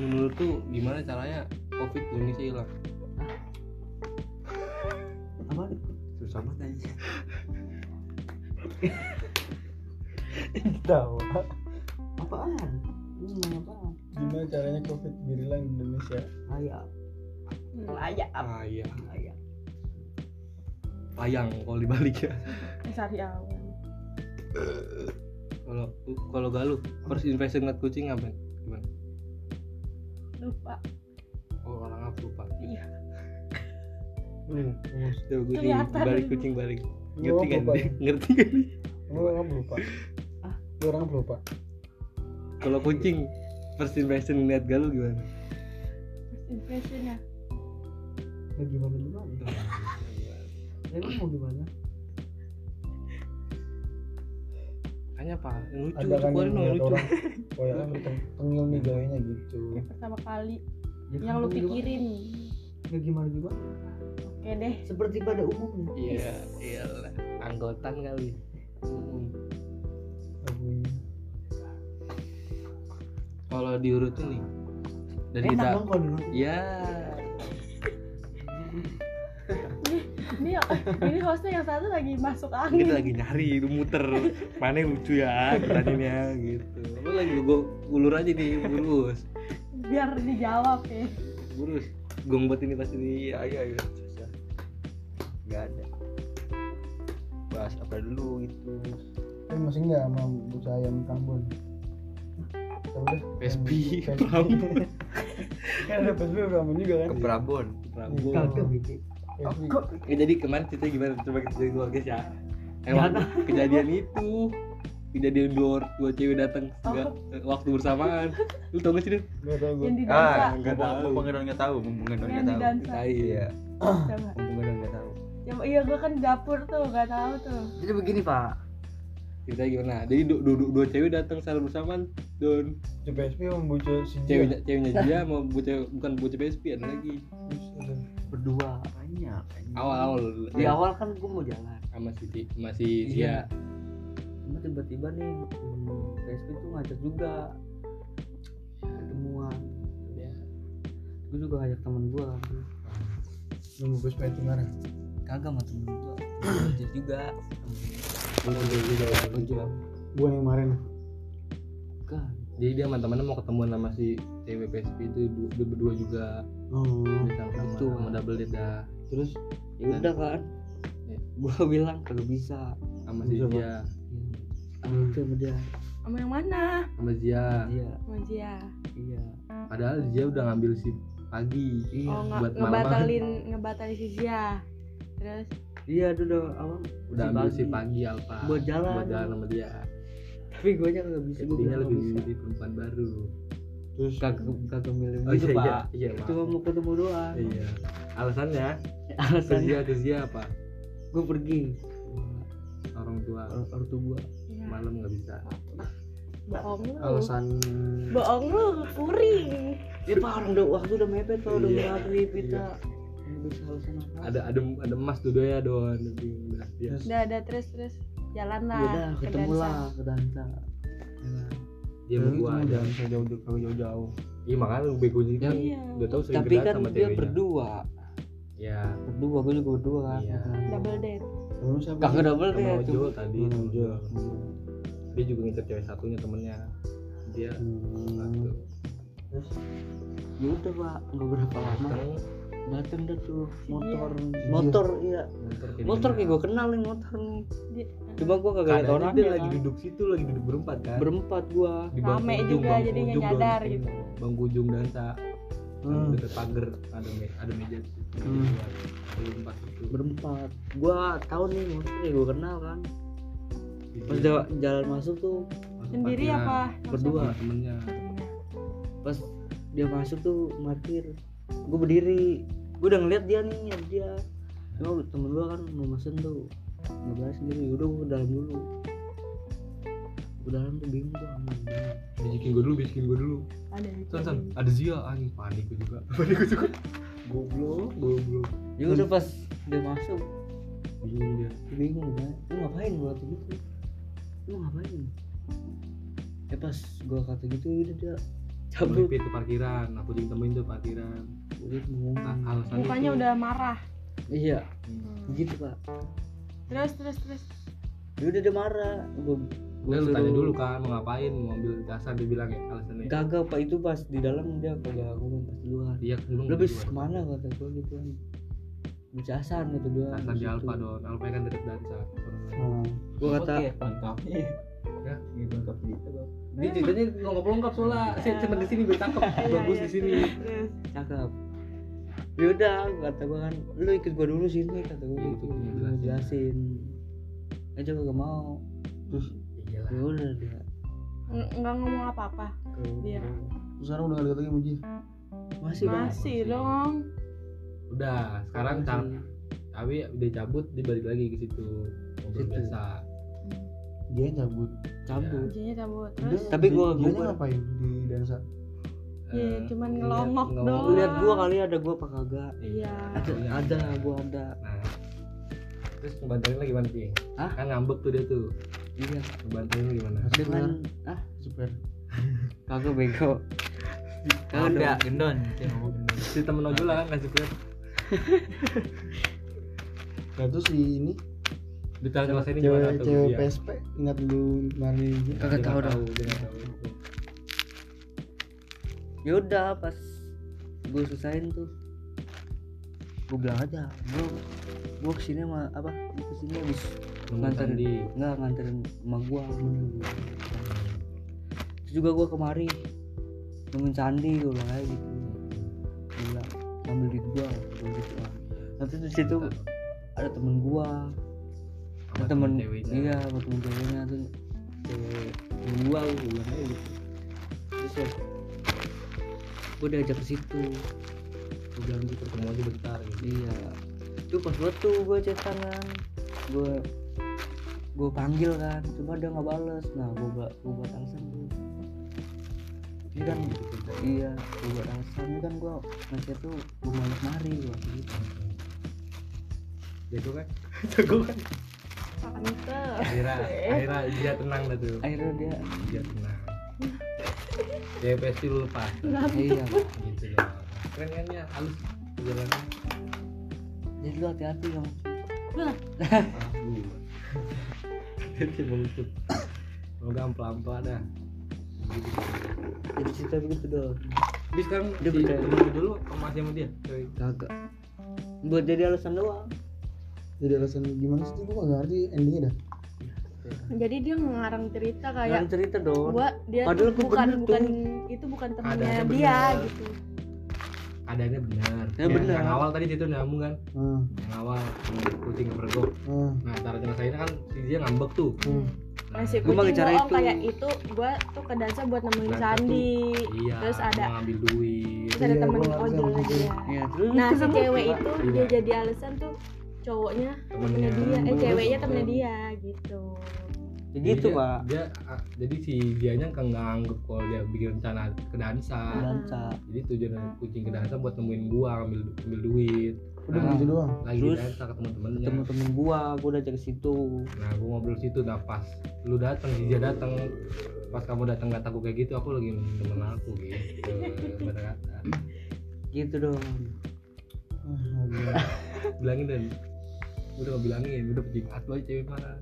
[SPEAKER 1] menurut tuh gimana caranya covid di Indonesia hilang
[SPEAKER 2] Apa? Susah banget aja.
[SPEAKER 3] Tahu. Apaan? Lu nanya apaan?
[SPEAKER 2] Gimana caranya covid gerilang di Indonesia?
[SPEAKER 3] Layak.
[SPEAKER 4] layak apa
[SPEAKER 1] ah iya
[SPEAKER 3] Layak.
[SPEAKER 1] payang kalau dibalik ya
[SPEAKER 4] cari awan
[SPEAKER 1] kalau kalau galuh first impression ngeliat kucing apa gimana
[SPEAKER 4] lupa
[SPEAKER 1] oh orang apa lupa
[SPEAKER 4] iya
[SPEAKER 1] hmm. Tuh, kucing
[SPEAKER 4] Kelihatan.
[SPEAKER 1] balik kucing balik
[SPEAKER 2] Lu
[SPEAKER 1] ngerti kan
[SPEAKER 2] apa, Pak?
[SPEAKER 1] ngerti kan
[SPEAKER 2] Lu orang pelupa? Lu orang pelupa?
[SPEAKER 1] kalau kucing first impression ngeliat galuh gimana
[SPEAKER 4] first impressionnya
[SPEAKER 3] Ya gimana gimana? Emang kan mau gimana?
[SPEAKER 1] Kayaknya apa? Yang lucu,
[SPEAKER 2] Ada kan
[SPEAKER 1] keluarin dong yang
[SPEAKER 2] yang ngeliat
[SPEAKER 1] lucu.
[SPEAKER 2] orang Kayak kan teng- tengil nih gayanya gitu
[SPEAKER 4] yang pertama kali
[SPEAKER 3] Ya,
[SPEAKER 4] yang lu
[SPEAKER 3] gimana
[SPEAKER 4] pikirin
[SPEAKER 3] gimana? Ya gimana gimana?
[SPEAKER 4] oke deh
[SPEAKER 3] Seperti pada umumnya.
[SPEAKER 1] Iya, iyalah. Anggotan kali. Hmm.
[SPEAKER 2] Abunya.
[SPEAKER 1] Kalau diurutin nih. Dari
[SPEAKER 3] Enak
[SPEAKER 1] kita.
[SPEAKER 3] dong kalau dulu.
[SPEAKER 1] Ya.
[SPEAKER 4] ini ini hostnya yang satu lagi masuk
[SPEAKER 1] Kita
[SPEAKER 4] angin
[SPEAKER 1] lagi nyari, lu muter. Mana yang lucu ya pertanyaannya gitu. Lu lagi gue ulur aja nih, burus.
[SPEAKER 4] biar dijawab ya
[SPEAKER 1] Burus. Gong buat ini pasti ini. Ya, ya, ya. Susah. Nggak ada. Bahas apa dulu gitu.
[SPEAKER 2] Eh masih nggak sama busa ayam Prambon? Ya udah
[SPEAKER 1] PSP,
[SPEAKER 2] Yang-
[SPEAKER 1] Prambon.
[SPEAKER 2] Kan ada PSP Prambon juga kan?
[SPEAKER 1] Prabon. Prabon.
[SPEAKER 3] Kagak gitu.
[SPEAKER 2] PSP.
[SPEAKER 1] Ya, jadi kemarin cerita gimana coba kita jadi guys ya. Emang kejadian itu kejadian dua or- dua cewek datang juga waktu bersamaan. Lu tau gak sih? Din?
[SPEAKER 2] Nggak tau gue
[SPEAKER 4] yang di
[SPEAKER 5] Ah,
[SPEAKER 4] dansa
[SPEAKER 1] nggak
[SPEAKER 5] nggak
[SPEAKER 1] tahu.
[SPEAKER 5] tahu. Mumpung Edon nggak tahu, mumpung Edon
[SPEAKER 4] yang
[SPEAKER 5] nggak
[SPEAKER 4] di
[SPEAKER 5] tahu.
[SPEAKER 4] dansa
[SPEAKER 1] Iya.
[SPEAKER 4] coba
[SPEAKER 5] Mumpung Edon nggak tahu.
[SPEAKER 4] coba iya gua kan di dapur tuh gak tahu tuh
[SPEAKER 5] Jadi begini Pak,
[SPEAKER 1] Cerita gimana? Jadi dua, dua, dua- dua cewek datang secara bersamaan. Don,
[SPEAKER 2] Di PSP sama busa si Jia
[SPEAKER 1] ceweknya ceweknya dia mau bocah bukan bocah PSP ada lagi.
[SPEAKER 5] berdua banyak. banyak.
[SPEAKER 1] Awal-awal
[SPEAKER 5] Di awal kan gue mau jalan,
[SPEAKER 1] sama si Ti- sama si Zia.
[SPEAKER 5] Iya. cuma tiba-tiba nih hmm, PSP tuh ngajak juga ketemuan.
[SPEAKER 1] Ya.
[SPEAKER 5] Gue juga ngajak teman gue kan.
[SPEAKER 2] Nunggu PSP itu mana?
[SPEAKER 5] Kagak sama temen gue, ngajak juga.
[SPEAKER 2] Gue yang kemarin
[SPEAKER 5] Kan,
[SPEAKER 1] Jadi dia sama temannya mau ketemuan sama si cewek PSP itu du- dia berdua juga
[SPEAKER 5] Oh.
[SPEAKER 2] Hmm
[SPEAKER 1] Dia sama-sama
[SPEAKER 5] Betul.
[SPEAKER 1] sama double date dah.
[SPEAKER 5] terus ya udah kan,
[SPEAKER 1] Iya.
[SPEAKER 5] gue bilang kagak bisa.
[SPEAKER 1] sama si
[SPEAKER 2] Bisa, Pak.
[SPEAKER 1] Zia
[SPEAKER 5] Sama itu sama dia,
[SPEAKER 4] sama yang mana
[SPEAKER 1] sama Zia
[SPEAKER 5] dia,
[SPEAKER 4] sama Jia
[SPEAKER 5] iya.
[SPEAKER 1] padahal Zia udah ngambil si pagi
[SPEAKER 5] Iya,
[SPEAKER 4] oh nge-
[SPEAKER 1] buat malaman
[SPEAKER 4] ngebatalin ngebatalin si Zia terus
[SPEAKER 5] iya dia udah awal
[SPEAKER 1] udah
[SPEAKER 5] si
[SPEAKER 1] ambil
[SPEAKER 5] pagi.
[SPEAKER 1] si pagi Alfa
[SPEAKER 5] Buat jalan.
[SPEAKER 1] buat jalan sama dia
[SPEAKER 5] Tapi gue aja nggak bisa, gue
[SPEAKER 1] intinya
[SPEAKER 5] bilang
[SPEAKER 1] lebih
[SPEAKER 5] nggak bisa.
[SPEAKER 1] milih perempuan baru
[SPEAKER 2] Terus
[SPEAKER 5] Kagak kagak milih
[SPEAKER 1] oh
[SPEAKER 5] gitu
[SPEAKER 1] iya iya
[SPEAKER 5] pak.
[SPEAKER 1] iya Pak.
[SPEAKER 5] Cuma mau ketemu doang.
[SPEAKER 1] iya alasannya ke
[SPEAKER 5] Alasannya
[SPEAKER 1] Zia ke Zia apa
[SPEAKER 5] gue pergi.
[SPEAKER 1] orang tua
[SPEAKER 5] Or- Ortu gue.
[SPEAKER 4] ya,
[SPEAKER 1] malam nggak bisa
[SPEAKER 4] bohong lu
[SPEAKER 2] alasan
[SPEAKER 4] bohong lu kuring
[SPEAKER 5] Ya pak orang udah waktu udah mepet pak udah
[SPEAKER 1] Iya.
[SPEAKER 5] mengakui kita. Nggak bisa alasan apa.
[SPEAKER 1] ada ada ada emas dua-duanya don Tapi udah dia
[SPEAKER 4] udah ada terus terus jalan lah
[SPEAKER 5] Ya udah
[SPEAKER 4] Nah, ke
[SPEAKER 5] ketemu
[SPEAKER 4] dansa.
[SPEAKER 5] lah ke dansa. Ya lah.
[SPEAKER 1] dia sama Iya, gua ada
[SPEAKER 2] jangan usah jauh jauh jauh
[SPEAKER 1] iya makanya lu bego juga
[SPEAKER 5] Yang-
[SPEAKER 4] iya
[SPEAKER 1] udah tau sering
[SPEAKER 5] Tapi
[SPEAKER 1] gerak
[SPEAKER 5] kan
[SPEAKER 1] sama
[SPEAKER 5] dia
[SPEAKER 1] ceweknya
[SPEAKER 5] berdua,
[SPEAKER 1] ya
[SPEAKER 5] berdua gue juga berdua kan.
[SPEAKER 1] Iya.
[SPEAKER 4] double date
[SPEAKER 2] Terus siapa?
[SPEAKER 5] Kagak double
[SPEAKER 1] sama
[SPEAKER 5] deh.
[SPEAKER 1] ojol tadi
[SPEAKER 2] Sama
[SPEAKER 1] sama
[SPEAKER 2] ojol.
[SPEAKER 1] ojol. dia juga ngincer cewek satunya temennya dia
[SPEAKER 5] Hmm.
[SPEAKER 1] satu
[SPEAKER 5] Ya udah pak, nggak berapa
[SPEAKER 1] Iya.
[SPEAKER 5] lama
[SPEAKER 1] Terus
[SPEAKER 5] dateng dah tuh motor,
[SPEAKER 2] Iya.
[SPEAKER 5] motor iya,
[SPEAKER 1] motor kiriman.
[SPEAKER 5] motor kayak gue kenal nih motor nih.
[SPEAKER 4] Dia- ah.
[SPEAKER 5] Coba gue kagak liat
[SPEAKER 1] Keadaannya
[SPEAKER 5] orangnya
[SPEAKER 1] dia lagi
[SPEAKER 5] kan.
[SPEAKER 1] duduk situ lagi duduk berempat kan
[SPEAKER 5] berempat gua
[SPEAKER 1] di bangku
[SPEAKER 4] Rame
[SPEAKER 1] ujung,
[SPEAKER 4] juga,
[SPEAKER 1] bangku
[SPEAKER 4] jadi nggak
[SPEAKER 1] ujung
[SPEAKER 4] nyadar
[SPEAKER 1] doang.
[SPEAKER 4] gitu.
[SPEAKER 1] bangku ujung dansa
[SPEAKER 2] Hmm.
[SPEAKER 1] deket pagar ada me- ada meja di situ.
[SPEAKER 5] Hmm.
[SPEAKER 1] berempat itu
[SPEAKER 5] berempat gua tahu nih maksudnya gua kenal kan
[SPEAKER 1] Iya.
[SPEAKER 5] pas jalan, jalan masuk tuh
[SPEAKER 4] sendiri apa
[SPEAKER 5] Berdua.
[SPEAKER 1] dua temennya
[SPEAKER 5] pas dia masuk tuh markir gua berdiri gua udah ngeliat dia nih ada dia cuma temen gua kan mau mesen tuh nggak balas sendiri udah gua ke dalam dulu ke dalam tuh bingung gua sama dia.
[SPEAKER 1] bisikin gue dulu bisikin gue dulu
[SPEAKER 4] ada yang
[SPEAKER 1] san san ada Zia anjing panik gue juga panik gue juga goblok goblok
[SPEAKER 5] ya udah pas dia masuk
[SPEAKER 1] bingung dia
[SPEAKER 5] Gua bingung kan lu ngapain gua tuh gitu lu ngapain eh pas gua kata gitu udah dia cabut
[SPEAKER 1] melipir ke parkiran aku juga temuin tuh parkiran Nah,
[SPEAKER 5] udah ngomong
[SPEAKER 1] A- alasan
[SPEAKER 4] mukanya udah marah
[SPEAKER 5] iya
[SPEAKER 1] Hmm.
[SPEAKER 5] gitu pak
[SPEAKER 4] terus terus terus
[SPEAKER 5] dia udah dia marah gue
[SPEAKER 1] Nah,
[SPEAKER 5] Gua
[SPEAKER 1] lu
[SPEAKER 5] suruh-
[SPEAKER 1] tanya dulu kan mau ngapain mau ambil dasar dibilang ya alasannya
[SPEAKER 5] kagak pak itu pas di dalam dia kagak ngomong pas di luar
[SPEAKER 1] iya belum
[SPEAKER 5] lebih kemana kata gue gitu kan becasan kata dia
[SPEAKER 1] dasar
[SPEAKER 5] di
[SPEAKER 1] di
[SPEAKER 5] situ.
[SPEAKER 1] alfa don alfa kan dekat dasar
[SPEAKER 5] Nah, gue kata
[SPEAKER 2] Lengkapi.
[SPEAKER 1] Ya.
[SPEAKER 3] Iya,
[SPEAKER 2] Ini lengkap gitu Bang.
[SPEAKER 1] dia ceritanya lengkap lengkap soalnya saya cuma di sini gue tangkep bagus di sini
[SPEAKER 4] Iya, Terus,
[SPEAKER 5] cakep yaudah kata gue kan lu ikut gue dulu sini kata gue
[SPEAKER 1] Iya,
[SPEAKER 5] gitu
[SPEAKER 1] ikut dia
[SPEAKER 5] mau
[SPEAKER 1] jelasin.
[SPEAKER 5] jelasin aja gak mau
[SPEAKER 1] iyalah
[SPEAKER 5] ya udah dia
[SPEAKER 4] ng- nggak ngomong apa-apa dia
[SPEAKER 3] Terus sekarang udah gak deket lagi sama dia
[SPEAKER 5] masih Mas,
[SPEAKER 4] masih dong
[SPEAKER 1] udah sekarang car tapi udah cabut dia balik lagi ke situ ngobrol
[SPEAKER 5] Situ.
[SPEAKER 1] biasa
[SPEAKER 3] Dia cabut
[SPEAKER 5] cabut
[SPEAKER 1] Iya.
[SPEAKER 4] kuncinya cabut
[SPEAKER 3] Dia-
[SPEAKER 4] terus
[SPEAKER 5] Tapi
[SPEAKER 3] dia-
[SPEAKER 5] gua-
[SPEAKER 3] dia
[SPEAKER 5] gua-
[SPEAKER 3] ngapain di dansa
[SPEAKER 4] Iya,
[SPEAKER 1] Eh,
[SPEAKER 4] cuman
[SPEAKER 1] ngeliat-
[SPEAKER 4] ngelongok
[SPEAKER 1] ngomong-
[SPEAKER 4] doang.
[SPEAKER 5] Lu lihat gue kali ada gue apa kagak
[SPEAKER 4] iya
[SPEAKER 5] ada
[SPEAKER 1] Iya.
[SPEAKER 5] ada gue ada
[SPEAKER 1] nah terus ngebantarin lagi gimana sih
[SPEAKER 5] Hah?
[SPEAKER 1] kan ngambek tuh dia tuh
[SPEAKER 5] iya
[SPEAKER 1] ngebantarin lu gimana
[SPEAKER 5] dengan ah
[SPEAKER 3] Super
[SPEAKER 5] kagak bego
[SPEAKER 2] Kalau
[SPEAKER 5] kagak
[SPEAKER 2] udah
[SPEAKER 5] dong.
[SPEAKER 2] gendon, dia ngomong gendon.
[SPEAKER 1] si temen ojol lah kan kasih lihat
[SPEAKER 3] Nah terus si ini
[SPEAKER 1] detail kelas ini gimana
[SPEAKER 3] Cewek
[SPEAKER 1] tuh
[SPEAKER 3] cewek
[SPEAKER 1] dia?
[SPEAKER 3] PSP Ingat lu kemarin
[SPEAKER 1] Nah,
[SPEAKER 5] Kagak
[SPEAKER 1] dia
[SPEAKER 5] tahu
[SPEAKER 1] nggak
[SPEAKER 5] dah.
[SPEAKER 1] dia nggak tahu.
[SPEAKER 5] yaudah pas gue susahin tuh gue bilang aja gue gue kesini sama apa gua kesini habis
[SPEAKER 1] Nemu
[SPEAKER 5] Nganterin.
[SPEAKER 1] Sandi.
[SPEAKER 5] nggak nganterin sama gue terus juga gue kemari nemuin candi gue bilang aja gitu gue bilang ambil duit gue gue gitu ah. nah terus di situ ada temen gue ada
[SPEAKER 1] Sama
[SPEAKER 5] temen
[SPEAKER 1] ceweknya.
[SPEAKER 5] iya ada temen ceweknya terus cewek temen gue gue bilang aja gitu terus ya gue diajak ke situ gue bilang gitu
[SPEAKER 1] ketemu aja bentar gitu
[SPEAKER 5] Iya. Itu pas buat tuh gue chat tangan. Gue gue panggil kan, cuma dia nggak bales. Nah, gue buat gue buat alasan gue. Ini kan iya, gue buat alasan ini kan gue ngechat tuh gue malas mari gue gitu.
[SPEAKER 1] jago kan jago kan
[SPEAKER 4] makan itu
[SPEAKER 1] akhirnya akhirnya dia tenang dah tuh
[SPEAKER 5] Akhirnya dia
[SPEAKER 1] dia tenang ya pasti lu lepas
[SPEAKER 5] iya.
[SPEAKER 1] gitu ya keren kan ya halus jalannya
[SPEAKER 5] Jadi lu hati-hati dong.
[SPEAKER 1] Ah, lu. Dia mengutuk Semoga pelan-pelan dah
[SPEAKER 5] Jadi cerita begitu dong.
[SPEAKER 1] Tapi sekarang
[SPEAKER 5] Dia
[SPEAKER 1] si
[SPEAKER 5] percaya.
[SPEAKER 1] temen lu dulu sama sama dia cewek.
[SPEAKER 5] Kagak. Buat jadi alasan doang.
[SPEAKER 3] Jadi alasan gimana sih Gue gak ngerti endingnya dah
[SPEAKER 4] jadi dia ngarang cerita kayak
[SPEAKER 5] Jangan cerita dong.
[SPEAKER 4] Oh, iya. gua dia
[SPEAKER 5] Padahal
[SPEAKER 4] tuh
[SPEAKER 5] gua
[SPEAKER 4] bukan
[SPEAKER 5] bener
[SPEAKER 4] bukan itu bukan temannya
[SPEAKER 1] Adanya
[SPEAKER 4] dia
[SPEAKER 1] bener.
[SPEAKER 4] gitu
[SPEAKER 5] Hmm.
[SPEAKER 1] Adanya benar
[SPEAKER 5] Ya, benar.
[SPEAKER 1] yang awal tadi itu nyambung kan
[SPEAKER 3] Nah,
[SPEAKER 1] yang awal yang kucing kebergok
[SPEAKER 3] nah,
[SPEAKER 1] nah cara nyelesainnya kan si dia ngambek tuh
[SPEAKER 3] nah.
[SPEAKER 1] nah,
[SPEAKER 4] Hmm. masih
[SPEAKER 5] Gua mah
[SPEAKER 4] kucing
[SPEAKER 5] bicara
[SPEAKER 4] bohong
[SPEAKER 5] itu.
[SPEAKER 4] kayak itu gua tuh ke dansa buat nemuin
[SPEAKER 1] Dansa
[SPEAKER 4] Sandi
[SPEAKER 1] iya
[SPEAKER 4] terus ada
[SPEAKER 1] mau ngambil duit
[SPEAKER 4] terus ada
[SPEAKER 3] Iya,
[SPEAKER 4] temen
[SPEAKER 3] gua ngerti
[SPEAKER 4] ojol
[SPEAKER 3] sama
[SPEAKER 4] lagi
[SPEAKER 3] dia.
[SPEAKER 4] ya.
[SPEAKER 5] Iya, terus
[SPEAKER 4] nah si
[SPEAKER 5] kenapa?
[SPEAKER 4] cewek itu
[SPEAKER 1] Iya.
[SPEAKER 4] dia jadi alasan tuh cowoknya
[SPEAKER 1] Temennya.
[SPEAKER 4] temennya
[SPEAKER 5] Iya,
[SPEAKER 4] dia eh
[SPEAKER 1] Terus,
[SPEAKER 4] ceweknya temennya
[SPEAKER 1] terus.
[SPEAKER 4] dia gitu
[SPEAKER 5] Ya
[SPEAKER 1] Jadi dia-
[SPEAKER 5] gitu, Pak.
[SPEAKER 1] dia, ah, jadi si dianya kan nggak nganggep kalau dia bikin rencana ke dansa
[SPEAKER 5] Dan Cak.
[SPEAKER 1] jadi tujuan kucing ke dansa buat nemuin gua ngambil ngambil duit
[SPEAKER 3] Udah
[SPEAKER 5] Nah.
[SPEAKER 3] gitu doang
[SPEAKER 1] lagi di
[SPEAKER 5] Terus,
[SPEAKER 1] dansa ketemu temennya
[SPEAKER 5] temen-temen gua, gua udah ajak ke situ.
[SPEAKER 1] nah gua ngobrol situ dah pas lu datang si dia datang pas kamu datang kata gua kayak gitu aku lagi nemuin temen aku gitu kata
[SPEAKER 5] Gitu dong.
[SPEAKER 3] Ah, ngobrol.
[SPEAKER 1] bilangin dan udah gak bilangin udah penting atu aja cewek marah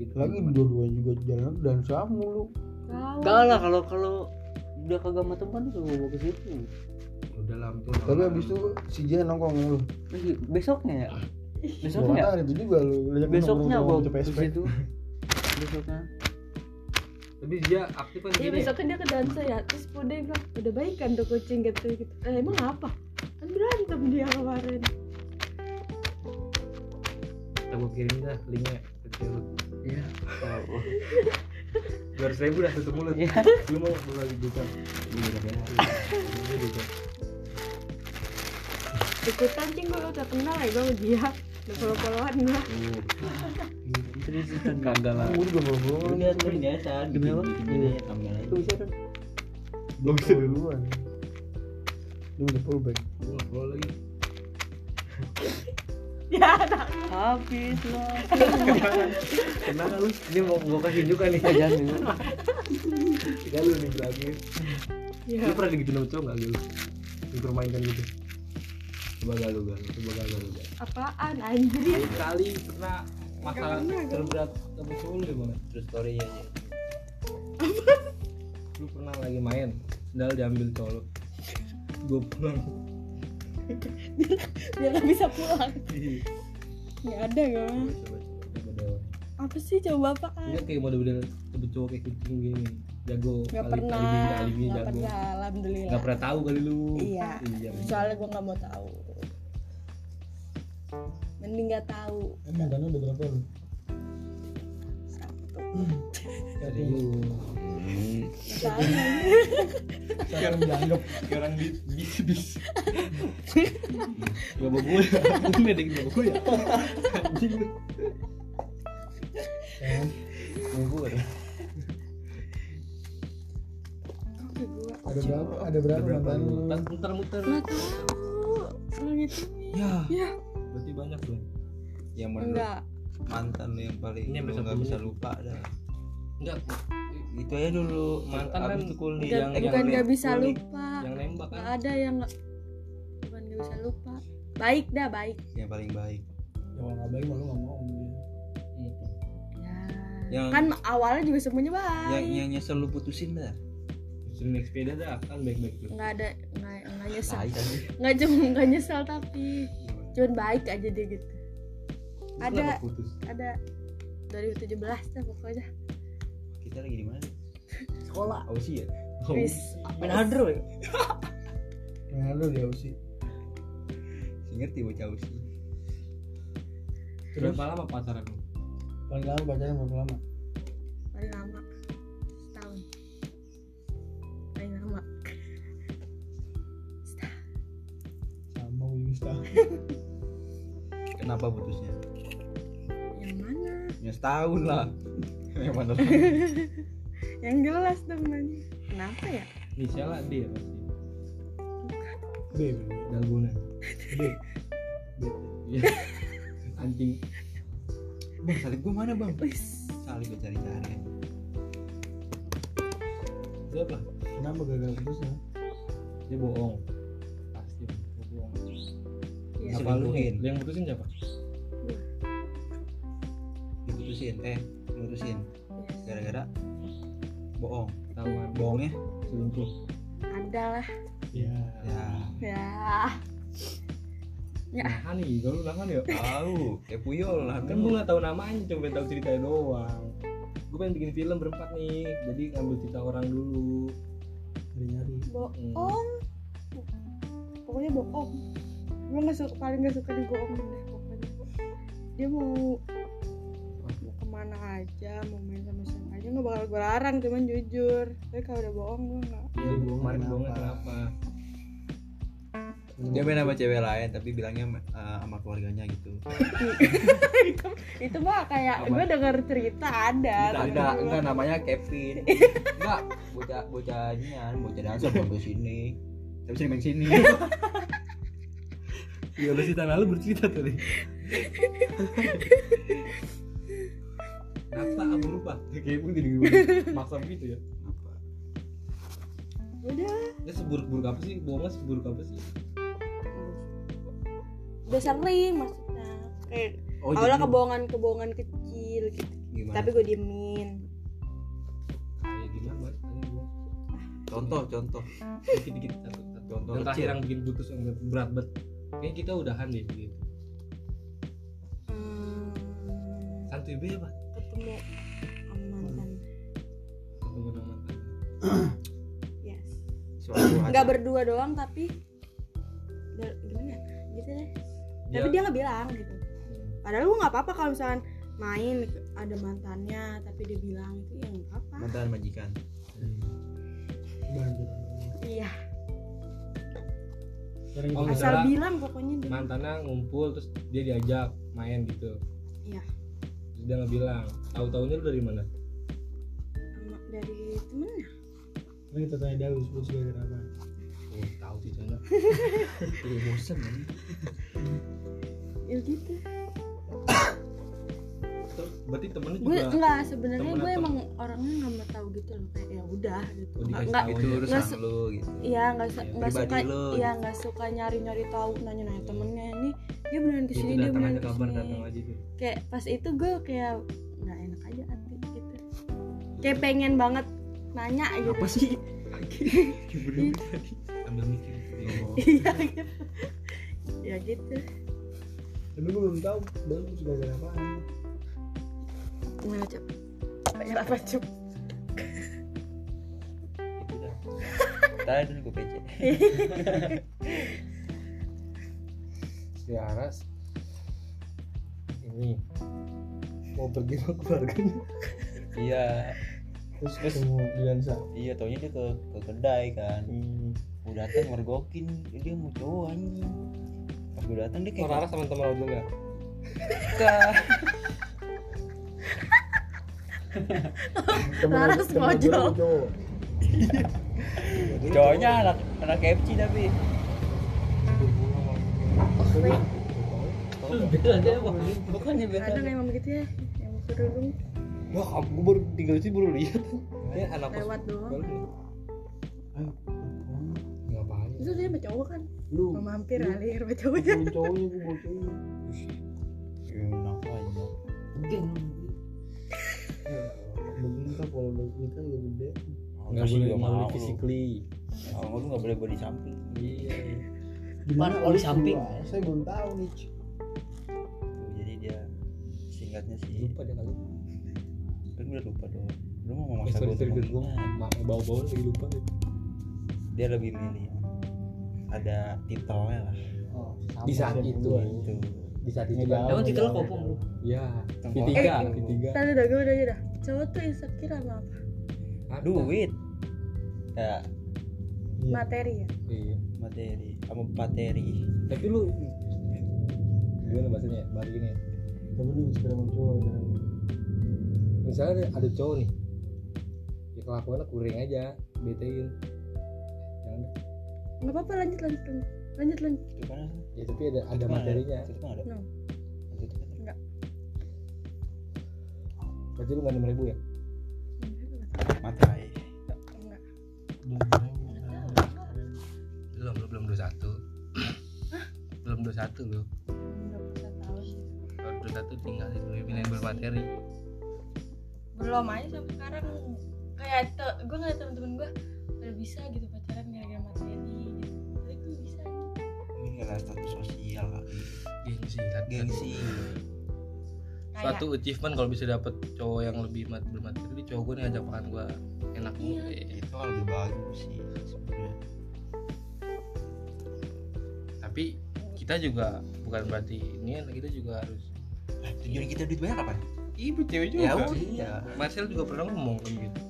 [SPEAKER 1] gitu
[SPEAKER 3] Lagi dua-duanya juga jalan dansa mulu
[SPEAKER 4] Oh.
[SPEAKER 5] Enggak lah kalau kalau udah kagak sama teman tuh bawa ke situ.
[SPEAKER 1] udah lah itu
[SPEAKER 3] Tapi abis itu si Jia nongkrong sama lu
[SPEAKER 5] Terus Besoknya ya?
[SPEAKER 3] Gua
[SPEAKER 5] Besoknya?
[SPEAKER 3] kata hari itu juga lu Lihat lu
[SPEAKER 5] Besoknya
[SPEAKER 3] nongkrong
[SPEAKER 5] bawa
[SPEAKER 3] sama
[SPEAKER 5] ke
[SPEAKER 3] PSP
[SPEAKER 5] situ. Besoknya.
[SPEAKER 1] tapi dia aktif kan
[SPEAKER 4] Iya
[SPEAKER 1] gini ya?
[SPEAKER 4] besoknya dia ke dansa ya Terus gue dia bilang udah baik kan tuh kucing gitu, gitu. Eh, Emang apa? Kan berantem dia kemarin
[SPEAKER 1] kita gua kirim dah linknya ke cewek lu.
[SPEAKER 5] Iya.
[SPEAKER 1] dua ratus ribu dah tutup mulut
[SPEAKER 5] Iya.
[SPEAKER 1] lu mau lu lagi buka Ini udah beres. Ini juga.
[SPEAKER 4] Ikutan cing gue udah kenal ya gue sama dia Udah follow-followan gue
[SPEAKER 1] Tuh.
[SPEAKER 5] Terus itu kan.
[SPEAKER 1] kagak lah
[SPEAKER 3] Gue juga bawa-bawa
[SPEAKER 2] Udah tuh biasa.
[SPEAKER 5] Demi apa?
[SPEAKER 2] Gini tambah
[SPEAKER 5] Itu
[SPEAKER 2] lagi.
[SPEAKER 5] bisa kan?
[SPEAKER 3] Gue bisa duluan Lu udah full back
[SPEAKER 1] gua nggak follow lagi
[SPEAKER 5] Habis lah.
[SPEAKER 1] kenapa lu ini mau gua kasih juga nih
[SPEAKER 5] Eh, Jangan dulu.
[SPEAKER 1] ya lu nih bilangin
[SPEAKER 4] Iya
[SPEAKER 1] lu pernah digituin sama cowok nggak gitu dipermainkan gitu
[SPEAKER 2] Coba galu galu. Coba galu galu.
[SPEAKER 4] Apaan anjir ya.
[SPEAKER 1] sekali pernah masalah
[SPEAKER 4] Gak pernah, gak
[SPEAKER 1] terberat kamu solo gimana
[SPEAKER 5] terus story
[SPEAKER 1] iya,
[SPEAKER 5] aja
[SPEAKER 1] lu pernah lagi main sendal diambil colo gue pulang
[SPEAKER 4] biar nggak bisa pulang
[SPEAKER 1] Ih,
[SPEAKER 4] nggak ada gak
[SPEAKER 5] coba coba coba.
[SPEAKER 1] ada dewa.
[SPEAKER 4] apa sih coba apaan
[SPEAKER 1] Enggak kayak model-model tebet cowok kayak kucing gini Jago
[SPEAKER 4] nggak
[SPEAKER 1] kali-
[SPEAKER 4] pernah
[SPEAKER 1] alibinya- alibinya
[SPEAKER 4] nggak
[SPEAKER 1] jago
[SPEAKER 4] pernah alhamdulillah
[SPEAKER 1] Nggak pernah tahu kali lu
[SPEAKER 4] Iya.
[SPEAKER 1] Iya
[SPEAKER 4] soalnya gue nggak mau tahu mending nggak tahu
[SPEAKER 3] Emang kan udah berapa lu?
[SPEAKER 1] Serius
[SPEAKER 4] Soalnya-
[SPEAKER 3] Sekarang dianggap
[SPEAKER 2] Kayak orang bis bis bis
[SPEAKER 1] Gak mau gue ya Gue medek gak mau gue ya Anjing lu
[SPEAKER 3] kan.
[SPEAKER 1] Mau gue ya
[SPEAKER 4] Oke, gua
[SPEAKER 3] Ada berapa? Ada berapa mantan lu?
[SPEAKER 1] Muter-muter
[SPEAKER 4] nggak tahu orang itu
[SPEAKER 1] Ya
[SPEAKER 4] Ya.
[SPEAKER 1] Berarti banyak dong
[SPEAKER 2] Iya. yang menurut
[SPEAKER 4] enggak
[SPEAKER 2] mantan lu yang paling
[SPEAKER 1] Ini
[SPEAKER 2] lu
[SPEAKER 1] sampai
[SPEAKER 2] nggak
[SPEAKER 1] sepuluh.
[SPEAKER 2] bisa lupa adalah
[SPEAKER 1] Enggak
[SPEAKER 2] itu aja dulu
[SPEAKER 1] Mantan
[SPEAKER 2] Abis
[SPEAKER 1] kan
[SPEAKER 2] itu kuliah
[SPEAKER 4] Nggak-
[SPEAKER 1] yang-
[SPEAKER 4] bukan
[SPEAKER 1] yang
[SPEAKER 4] nggak
[SPEAKER 1] kulit-
[SPEAKER 4] bisa
[SPEAKER 1] kulit.
[SPEAKER 4] lupa
[SPEAKER 1] Yang nembak
[SPEAKER 4] nggak
[SPEAKER 1] kan
[SPEAKER 4] ada yang nggak bukan nggak bisa lupa baik dah baik
[SPEAKER 2] yang paling baik
[SPEAKER 3] Ya kalau nggak baik mah lu nggak mau sama dia.
[SPEAKER 4] ya
[SPEAKER 2] Yang-
[SPEAKER 4] kan awalnya juga semuanya baik
[SPEAKER 2] yang yang nyesel lu putusin dah
[SPEAKER 1] Justru naik sepeda dah Kan baik-baik tuh
[SPEAKER 4] nggak ada nggak nggak nyesel
[SPEAKER 2] tai kan
[SPEAKER 4] nggak cuma nggak nyesel tapi cuman baik aja dia gitu ada
[SPEAKER 1] Kenapa putus
[SPEAKER 4] ada 2017 dah pokoknya
[SPEAKER 2] kita lagi di mana
[SPEAKER 4] sekolah
[SPEAKER 1] Ausi ya Oh,
[SPEAKER 4] bis
[SPEAKER 5] Benadro ya
[SPEAKER 3] Yang ada dia sih.
[SPEAKER 2] Ingat tiba jauh sih
[SPEAKER 3] Terus
[SPEAKER 1] Berapa lama pacaran lu?
[SPEAKER 3] paling lama pacaran berapa lama?
[SPEAKER 4] paling lama setahun paling lama
[SPEAKER 3] Sama gue juga setahun.
[SPEAKER 2] kenapa putusnya
[SPEAKER 4] yang mana
[SPEAKER 2] ya setahun lah yang mana
[SPEAKER 4] yang jelas dong nanya kenapa ya
[SPEAKER 1] Inisialnya D ya pasti
[SPEAKER 3] B, B, B.
[SPEAKER 1] Dalgona
[SPEAKER 3] B.
[SPEAKER 1] Iya Anjing
[SPEAKER 2] bang salib gua mana bang
[SPEAKER 4] wis
[SPEAKER 2] salib gua cari-cari
[SPEAKER 1] Siap lah
[SPEAKER 3] Kenapa gagal terus ya?
[SPEAKER 1] dia bohong pasti dia bohong
[SPEAKER 4] Ya.
[SPEAKER 1] apa lu
[SPEAKER 2] Diselingkuhin.
[SPEAKER 1] yang putusin siapa
[SPEAKER 2] diputusin eh
[SPEAKER 4] iya.
[SPEAKER 2] diputusin gara-gara bohong
[SPEAKER 1] tahuan
[SPEAKER 2] bohongnya
[SPEAKER 1] selingkuh
[SPEAKER 4] ada lah
[SPEAKER 3] Iya.
[SPEAKER 2] ya
[SPEAKER 4] ya Ya.
[SPEAKER 1] nahan nih kalau lu nahan ya
[SPEAKER 2] tahu kayak puyol lah
[SPEAKER 1] kan gua nggak tahu namanya cuma pengen tahu ceritanya doang gue pengen bikin film berempat nih jadi ngambil cerita orang dulu
[SPEAKER 3] Nyari-nyari.
[SPEAKER 4] bohong
[SPEAKER 2] Hmm.
[SPEAKER 4] pokoknya bohong gue nggak suka paling nggak suka dibohongin deh pokoknya dia mau mau kemana aja mau main sama siapa aja nggak bakal gue larang cuman jujur tapi kalau udah bohong gue nggak
[SPEAKER 1] iya lu
[SPEAKER 3] bohong
[SPEAKER 1] kemarin
[SPEAKER 3] kenapa?
[SPEAKER 1] bohongnya kenapa
[SPEAKER 2] dia main sama cewek lain tapi bilangnya eh, sama keluarganya gitu
[SPEAKER 4] itu itu mah kayak
[SPEAKER 2] Apa?
[SPEAKER 4] gue denger cerita ada tapi
[SPEAKER 2] Enggak,
[SPEAKER 4] gua-
[SPEAKER 2] enggak namanya Kevin. Enggak, bocah bocah nian, bocah dancer bang ke sini. Tapi sering main sini.
[SPEAKER 1] iya lu cerita lalu bercerita tadi Nata aku lupa Kayak pun jadi gimana Maksa gitu ya
[SPEAKER 2] Apa?
[SPEAKER 4] udah
[SPEAKER 1] Dia seburuk-buruk apa sih? Bohongnya seburuk apa sih?
[SPEAKER 4] udah sering maksudnya kayak
[SPEAKER 2] Oh,
[SPEAKER 4] awalnya
[SPEAKER 2] jadi
[SPEAKER 4] kebohongan kebohongan kecil gitu
[SPEAKER 2] gimana?
[SPEAKER 4] tapi gue diemin
[SPEAKER 1] Kayak gimana? Tanya gua.
[SPEAKER 2] Contoh, contoh,
[SPEAKER 1] dikit-dikit satu satu
[SPEAKER 2] contoh.
[SPEAKER 1] yang terakhir
[SPEAKER 2] kecil.
[SPEAKER 1] yang bikin putus yang berat banget kayaknya kita udahan deh gitu
[SPEAKER 4] Hmm,
[SPEAKER 1] santuy be apa
[SPEAKER 4] ketemu sama mantan
[SPEAKER 1] ketemu sama mantan
[SPEAKER 4] yes
[SPEAKER 2] Suatu hari.
[SPEAKER 4] nggak berdua doang tapi da- gimana ya? gitu deh
[SPEAKER 1] Iya.
[SPEAKER 4] tapi dia nggak bilang gitu padahal gue nggak apa-apa kalau misalkan main gitu. ada mantannya tapi dia bilang itu ya nggak apa
[SPEAKER 2] mantan majikan.
[SPEAKER 3] Banjir.
[SPEAKER 4] iya
[SPEAKER 3] Sekarang
[SPEAKER 1] Oh,
[SPEAKER 3] kita-
[SPEAKER 1] misalnya-
[SPEAKER 4] asal bilang pokoknya dia
[SPEAKER 1] mantannya ngumpul terus dia diajak main gitu
[SPEAKER 4] Iya.
[SPEAKER 1] terus dia nggak bilang tahu taunya lu dari mana
[SPEAKER 4] sama dari ya. temennya
[SPEAKER 3] sekarang kita tanya Daus, lu sebagai apa?
[SPEAKER 1] oh tahu sih sana
[SPEAKER 2] Ih, bosen kan.
[SPEAKER 4] ya gitu
[SPEAKER 1] terus berarti temennya
[SPEAKER 4] gue
[SPEAKER 1] juga
[SPEAKER 4] enggak sebenarnya
[SPEAKER 1] temen
[SPEAKER 4] gue
[SPEAKER 1] atau-
[SPEAKER 4] emang orangnya nggak mau tahu gitu loh kayak ya udah gitu
[SPEAKER 1] Oh, dikasih
[SPEAKER 4] enggak
[SPEAKER 1] tahu.
[SPEAKER 2] Itu
[SPEAKER 1] Nggak
[SPEAKER 2] urusan
[SPEAKER 4] su-
[SPEAKER 2] lu gitu.
[SPEAKER 4] Iya nggak su- nggak
[SPEAKER 2] Pribadi
[SPEAKER 4] suka
[SPEAKER 1] gitu.
[SPEAKER 2] lo,
[SPEAKER 4] iya nggak suka nyari nyari tahu nanya nanya temennya ini dia beneran kesini
[SPEAKER 1] itu
[SPEAKER 4] dia
[SPEAKER 1] datang aja
[SPEAKER 4] beneran
[SPEAKER 1] kabar
[SPEAKER 4] kesini
[SPEAKER 1] datang aja tuh
[SPEAKER 4] kayak pas itu gue kayak nggak enak aja hati gitu kayak pengen banget nanya gitu
[SPEAKER 1] apa sih Ibu tadi sambil mikir oh.
[SPEAKER 4] iya gitu ya gitu
[SPEAKER 1] tapi gue belum tahu bagus gara-gara apa
[SPEAKER 4] gimana cep pengen apa ya? cep
[SPEAKER 2] Itu dah. Tadi gue Kan, PC.
[SPEAKER 1] si Aras ini mau pergi sama keluarganya
[SPEAKER 2] Iya,
[SPEAKER 1] terus ketemu dengan sa
[SPEAKER 2] iya taunya dia ke, ke kedai kan.
[SPEAKER 3] hmm,
[SPEAKER 2] Gue datang mergokin, dia mau cowok anjing. Pas gue datang dia kayak
[SPEAKER 1] Aras sama teman lo juga
[SPEAKER 2] kakak.
[SPEAKER 4] Laras mojol
[SPEAKER 2] Cowoknya anak anak FC tapi.
[SPEAKER 5] Bedanya apa? Bukannya
[SPEAKER 4] ada yang emang begitu ya yang kerudung
[SPEAKER 1] wah gue baru tinggal sih baru lihat ya anak kos
[SPEAKER 4] lewat doang
[SPEAKER 1] baru. ngapain
[SPEAKER 4] itu dia sama cowok kan
[SPEAKER 3] lu
[SPEAKER 4] mau mampir kali sama kan? cowoknya
[SPEAKER 3] bukan cowoknya gue bocorin
[SPEAKER 2] Ya, makanya.
[SPEAKER 3] mungkin kan kalau udah nikah udah gede
[SPEAKER 1] nggak boleh nggak boleh physically
[SPEAKER 2] Kalau lu nggak boleh body samping.
[SPEAKER 1] iya
[SPEAKER 5] Gimana kalau di samping?
[SPEAKER 3] saya belum tahu nih Ci.
[SPEAKER 2] gitu. Jadi dia singkatnya sih.
[SPEAKER 1] lupa dia kali
[SPEAKER 2] Kan gue udah lupa dong. Lu mau
[SPEAKER 1] eh,
[SPEAKER 2] memaksa
[SPEAKER 1] sorry
[SPEAKER 2] gue
[SPEAKER 1] sorry
[SPEAKER 2] untuk
[SPEAKER 1] gue
[SPEAKER 2] mengingat.
[SPEAKER 1] bawa-bawa lagi lupa gitu.
[SPEAKER 2] Dia lebih milih ada titelnya lah. gitu.
[SPEAKER 1] di saat itu
[SPEAKER 2] Itu.
[SPEAKER 1] di saat itu
[SPEAKER 3] Nggak
[SPEAKER 1] kan
[SPEAKER 5] Emang titelnya kopong lu?
[SPEAKER 1] ya
[SPEAKER 2] Tengok.
[SPEAKER 1] ketiga
[SPEAKER 4] Eh,
[SPEAKER 1] ketiga
[SPEAKER 4] tadi udah gue udah aja dah cowok tuh insecure sama apa?
[SPEAKER 2] Duit. Ya,
[SPEAKER 4] materi ya
[SPEAKER 1] iya
[SPEAKER 2] materi sama materi
[SPEAKER 1] tapi lu gimana bahasanya baru gini ya.
[SPEAKER 3] tapi lu inspirasi kan. sama cowok jangan.
[SPEAKER 1] misalnya ada, ada cowok nih ya kelakuannya kuring aja betein jangan deh.
[SPEAKER 4] nggak apa-apa lanjut lanjut lanjut lanjut lanjut
[SPEAKER 2] itu kan
[SPEAKER 1] ya tapi ada ada
[SPEAKER 2] itu kan
[SPEAKER 1] materinya
[SPEAKER 2] itu kan ada
[SPEAKER 4] No.
[SPEAKER 2] Itu kan ada.
[SPEAKER 1] berarti lu nggak enam ribu ya
[SPEAKER 2] materi
[SPEAKER 4] enggak
[SPEAKER 1] belum lu belum dua satu belum dua satu lu
[SPEAKER 4] enggak bisa tahu
[SPEAKER 1] kalau dua satu tinggal lebih milih bermateri
[SPEAKER 4] belum aja sampai sekarang kayak te- gue ngeliat temen-temen gue udah bisa gitu pacaran gara-gara materi gitu tapi gue bisa
[SPEAKER 2] ini karena status sosial kali
[SPEAKER 1] gengsi kan?
[SPEAKER 2] gengsi
[SPEAKER 4] kayak
[SPEAKER 1] achievement kalau bisa dapet cowok yang lebih mat bermateri cowok gue nih ngajak makan gue enak
[SPEAKER 4] Iya.
[SPEAKER 2] itu kan lebih bagus sih sebenarnya
[SPEAKER 1] tapi kita juga bukan berarti ini kita juga harus
[SPEAKER 2] Lah, Eh, tujuan kita duit banyak apa
[SPEAKER 1] ibu cewek
[SPEAKER 2] ya udah
[SPEAKER 1] Marcel juga pernah ngomong kan gitu.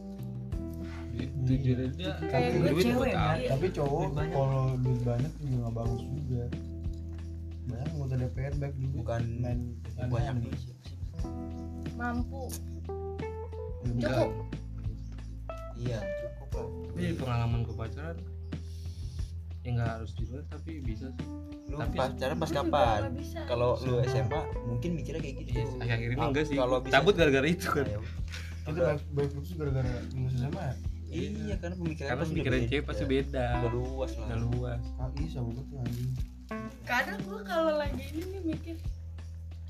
[SPEAKER 1] Tujuannya dia
[SPEAKER 4] kayak gue
[SPEAKER 1] duit
[SPEAKER 4] cewek
[SPEAKER 1] buat apa?
[SPEAKER 4] Mak.
[SPEAKER 3] tapi cowok
[SPEAKER 2] Duit banyak.
[SPEAKER 3] kalau duit banyak juga nggak bagus juga banyak anggota DPR baik juga
[SPEAKER 2] bukan
[SPEAKER 3] main
[SPEAKER 2] banyak
[SPEAKER 3] aneh-aneh.
[SPEAKER 2] duit
[SPEAKER 4] mampu
[SPEAKER 1] Enggak.
[SPEAKER 4] Cukup.
[SPEAKER 2] iya cukup lah
[SPEAKER 1] Tapi dari pengalaman gue pacaran ya nggak harus juga tapi bisa sih.
[SPEAKER 2] lu
[SPEAKER 1] Tapi-
[SPEAKER 2] pacaran pas
[SPEAKER 4] Gue juga
[SPEAKER 2] kapan
[SPEAKER 4] nggak bisa
[SPEAKER 2] kalau lu SMA mungkin mikirnya kayak gitu
[SPEAKER 1] Iya, akhir-akhir ini
[SPEAKER 2] Ah,
[SPEAKER 1] enggak sih.
[SPEAKER 2] kalau bisa- Iya,
[SPEAKER 1] Cabut gara-gara itu kan.
[SPEAKER 2] Ayo.
[SPEAKER 3] kita
[SPEAKER 2] Udah.
[SPEAKER 3] baik baik putus gara-gara lulus SMA ya
[SPEAKER 2] iya karena pemikiran
[SPEAKER 1] Karena pikiran cewek pasti beda.
[SPEAKER 2] Iya. udah luas lah
[SPEAKER 1] Udah luas.
[SPEAKER 3] KI sama gue tuh anjing
[SPEAKER 4] kadang gue kalau lagi ini nih mikir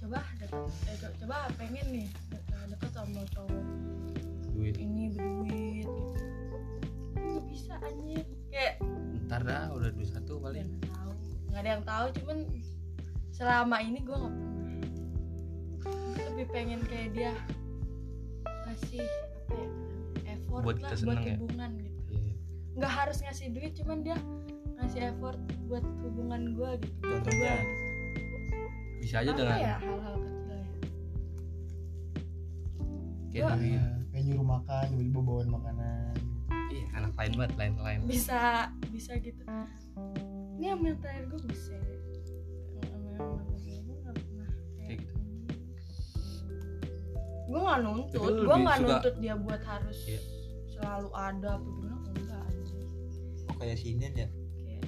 [SPEAKER 4] coba deket, eh, co- coba pengen nih de- eh, deket sama cowok
[SPEAKER 1] Duit.
[SPEAKER 4] ini berduit gitu nggak bisa anjir kayak
[SPEAKER 1] Ntar dah udah duit satu
[SPEAKER 4] nggak
[SPEAKER 1] paling.
[SPEAKER 4] tahu nggak ada yang tahu cuman selama ini gue nggak pernah Gua lebih pengen kayak dia ngasih apa ya effort
[SPEAKER 1] Buat
[SPEAKER 4] lah
[SPEAKER 1] kita
[SPEAKER 4] buat
[SPEAKER 1] seneng ya?
[SPEAKER 4] hubungan gitu nggak harus ngasih duit cuman dia ngasih effort buat hubungan gue gitu buat
[SPEAKER 2] Contohnya?
[SPEAKER 4] gua gitu.
[SPEAKER 1] Bisa aja
[SPEAKER 4] apa
[SPEAKER 1] dengan
[SPEAKER 4] ya hal-hal kecil ya
[SPEAKER 1] kayak
[SPEAKER 4] Gua-
[SPEAKER 1] duit.
[SPEAKER 3] kayak nyuruh makan tiba-tiba bawain makanan
[SPEAKER 1] Iya, anak lain banget, lain-lain.
[SPEAKER 4] bisa bisa gitu ini yang terakhir gue bisa
[SPEAKER 1] Kayak gitu.
[SPEAKER 4] gue nggak
[SPEAKER 1] Tapi
[SPEAKER 4] nuntut
[SPEAKER 1] lu
[SPEAKER 4] gue
[SPEAKER 1] lebih
[SPEAKER 4] nggak
[SPEAKER 1] suka-
[SPEAKER 4] nuntut dia buat harus
[SPEAKER 1] Iya.
[SPEAKER 4] selalu ada apa gimana enggak aja
[SPEAKER 2] oh kayak sinen ya
[SPEAKER 4] kayak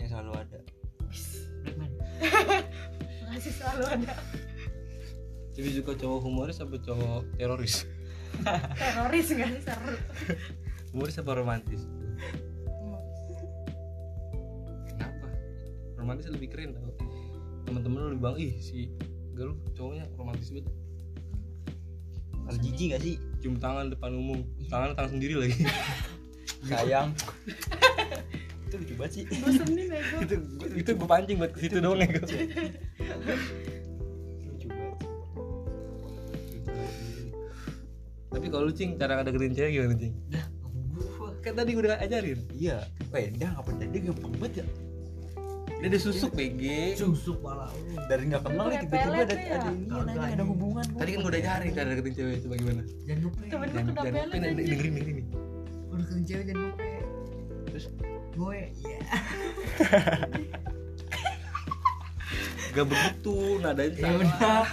[SPEAKER 2] yang selalu ada
[SPEAKER 4] masih selalu ada
[SPEAKER 1] Jadi suka cowok humoris apa cowok teroris?
[SPEAKER 4] teroris nggak sih seru
[SPEAKER 1] Humoris apa romantis? Kenapa? Romantis lebih keren tau teman-teman lu bilang ih si galuh cowoknya romantis banget
[SPEAKER 2] Ada jijik gak sih?
[SPEAKER 1] cium tangan depan umum tangan tangan sendiri lagi
[SPEAKER 2] Sayang. itu lucu banget sih.
[SPEAKER 4] bosen nih bego
[SPEAKER 1] itu itu gue pancing buat ke situ doang ya gue
[SPEAKER 2] Lucu banget. sih.
[SPEAKER 1] tapi kalau lu cing cara ngedeketin cewek gimana cing
[SPEAKER 2] Dah, gua.
[SPEAKER 1] kan tadi gue udah ajarin
[SPEAKER 2] Iya. Eh, dah apa tadi gampang banget ya?
[SPEAKER 1] dia ada susuk BG
[SPEAKER 5] susuk pala lu.
[SPEAKER 2] Dari nggak
[SPEAKER 4] Lu
[SPEAKER 2] kenal nih tiba-tiba
[SPEAKER 4] ngepelet
[SPEAKER 2] ada
[SPEAKER 4] ya?
[SPEAKER 2] ada ini
[SPEAKER 5] Kagak,
[SPEAKER 2] nanya ada
[SPEAKER 5] anjing.
[SPEAKER 2] hubungan.
[SPEAKER 1] tadi kan gue udah ajarin cara deketin cewek coba gimana
[SPEAKER 5] jangan lupa
[SPEAKER 4] Temen lu
[SPEAKER 1] Jangan-
[SPEAKER 4] kena
[SPEAKER 1] jangan
[SPEAKER 4] pelet
[SPEAKER 1] lupain, dengerin
[SPEAKER 4] anjing.
[SPEAKER 1] dengerin dengerin.
[SPEAKER 5] udah kerja cewek jangan lupa
[SPEAKER 2] Terus?
[SPEAKER 5] gue iya
[SPEAKER 1] gak begitu nadanya
[SPEAKER 5] ya
[SPEAKER 1] salah
[SPEAKER 5] udah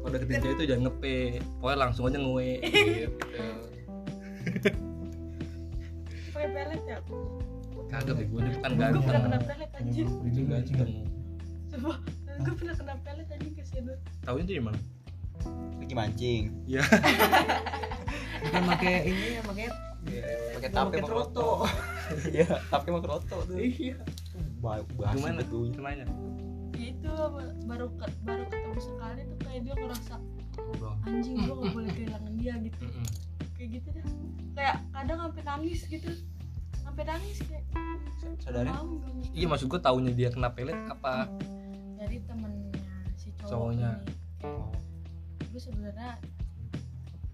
[SPEAKER 1] kalau deketin cewek itu jangan ngepe pokoknya langsung aja ngewe
[SPEAKER 5] Iya.
[SPEAKER 1] gitu.
[SPEAKER 4] pakai pelet ya
[SPEAKER 1] kagak bego dia bukan
[SPEAKER 4] gue pernah
[SPEAKER 1] ganteng
[SPEAKER 4] kena pelet anjir
[SPEAKER 1] itu ganteng
[SPEAKER 4] coba gue pernah kena pelet anjing ke sini
[SPEAKER 1] tahunya itu di mana
[SPEAKER 2] Lagi mancing.
[SPEAKER 5] bukan pakai ini ya pakai
[SPEAKER 2] Iya, Pakai
[SPEAKER 5] Mau
[SPEAKER 2] tape
[SPEAKER 5] pakai
[SPEAKER 2] sama
[SPEAKER 5] kroto.
[SPEAKER 2] kroto. Iya, tape sama kroto tuh.
[SPEAKER 1] iya
[SPEAKER 2] Ba- Bahas
[SPEAKER 1] gimana
[SPEAKER 2] itu.
[SPEAKER 1] gimana
[SPEAKER 4] ya itu apa, baru ke- baru ketemu sekali tuh kayak dia ngerasa
[SPEAKER 1] Ngobrol.
[SPEAKER 4] anjing gue gak boleh kehilangan dia gitu
[SPEAKER 1] Mm-mm.
[SPEAKER 4] kayak gitu dah kayak kadang sampai nangis gitu sampai nangis kayak
[SPEAKER 2] Saudara.
[SPEAKER 4] mau nggak mau.
[SPEAKER 1] iya maksud gue tahunya dia kena pelet apa
[SPEAKER 4] dari temennya si cowok
[SPEAKER 1] Cowoknya.
[SPEAKER 4] ini gue sebenarnya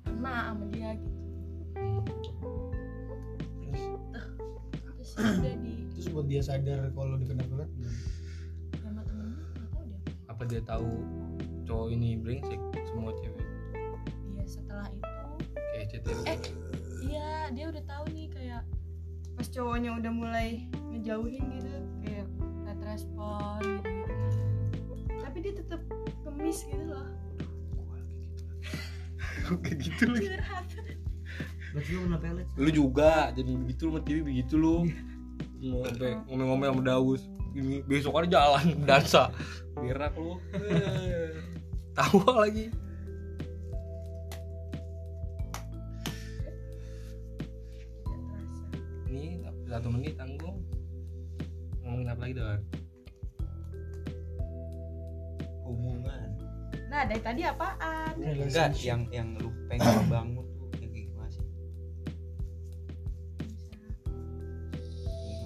[SPEAKER 4] kena sama dia gitu terus ya udah di
[SPEAKER 3] terus buat dia sadar kalau dikena pelet gimana?
[SPEAKER 4] sama temennya nggak tahu dia
[SPEAKER 1] apa dia tahu cowok ini brengsek semua cewek
[SPEAKER 4] dia setelah itu
[SPEAKER 1] kayak cetek
[SPEAKER 4] Eh. iya dia udah tahu nih kayak pas cowoknya udah mulai ngejauhin gitu kayak nggak respon gitu, tapi dia tetap kemis gitu loh
[SPEAKER 1] kayak gitu lagi
[SPEAKER 4] curhat
[SPEAKER 5] berarti lu pernah pelet
[SPEAKER 1] lu juga jadi begitu lu sama cewek begitu lu mau sampai ngomel-ngomel sama Daus ini besok hari jalan dansa berak lu tahu lagi
[SPEAKER 4] Nggak terasa.
[SPEAKER 1] ini satu menit tanggung ngomongin apa lagi Dar?
[SPEAKER 2] Hubungan.
[SPEAKER 4] nah dari tadi apaan
[SPEAKER 2] Enggak, iya. yang yang lu pengen bangun tuh ya kayak gimana sih?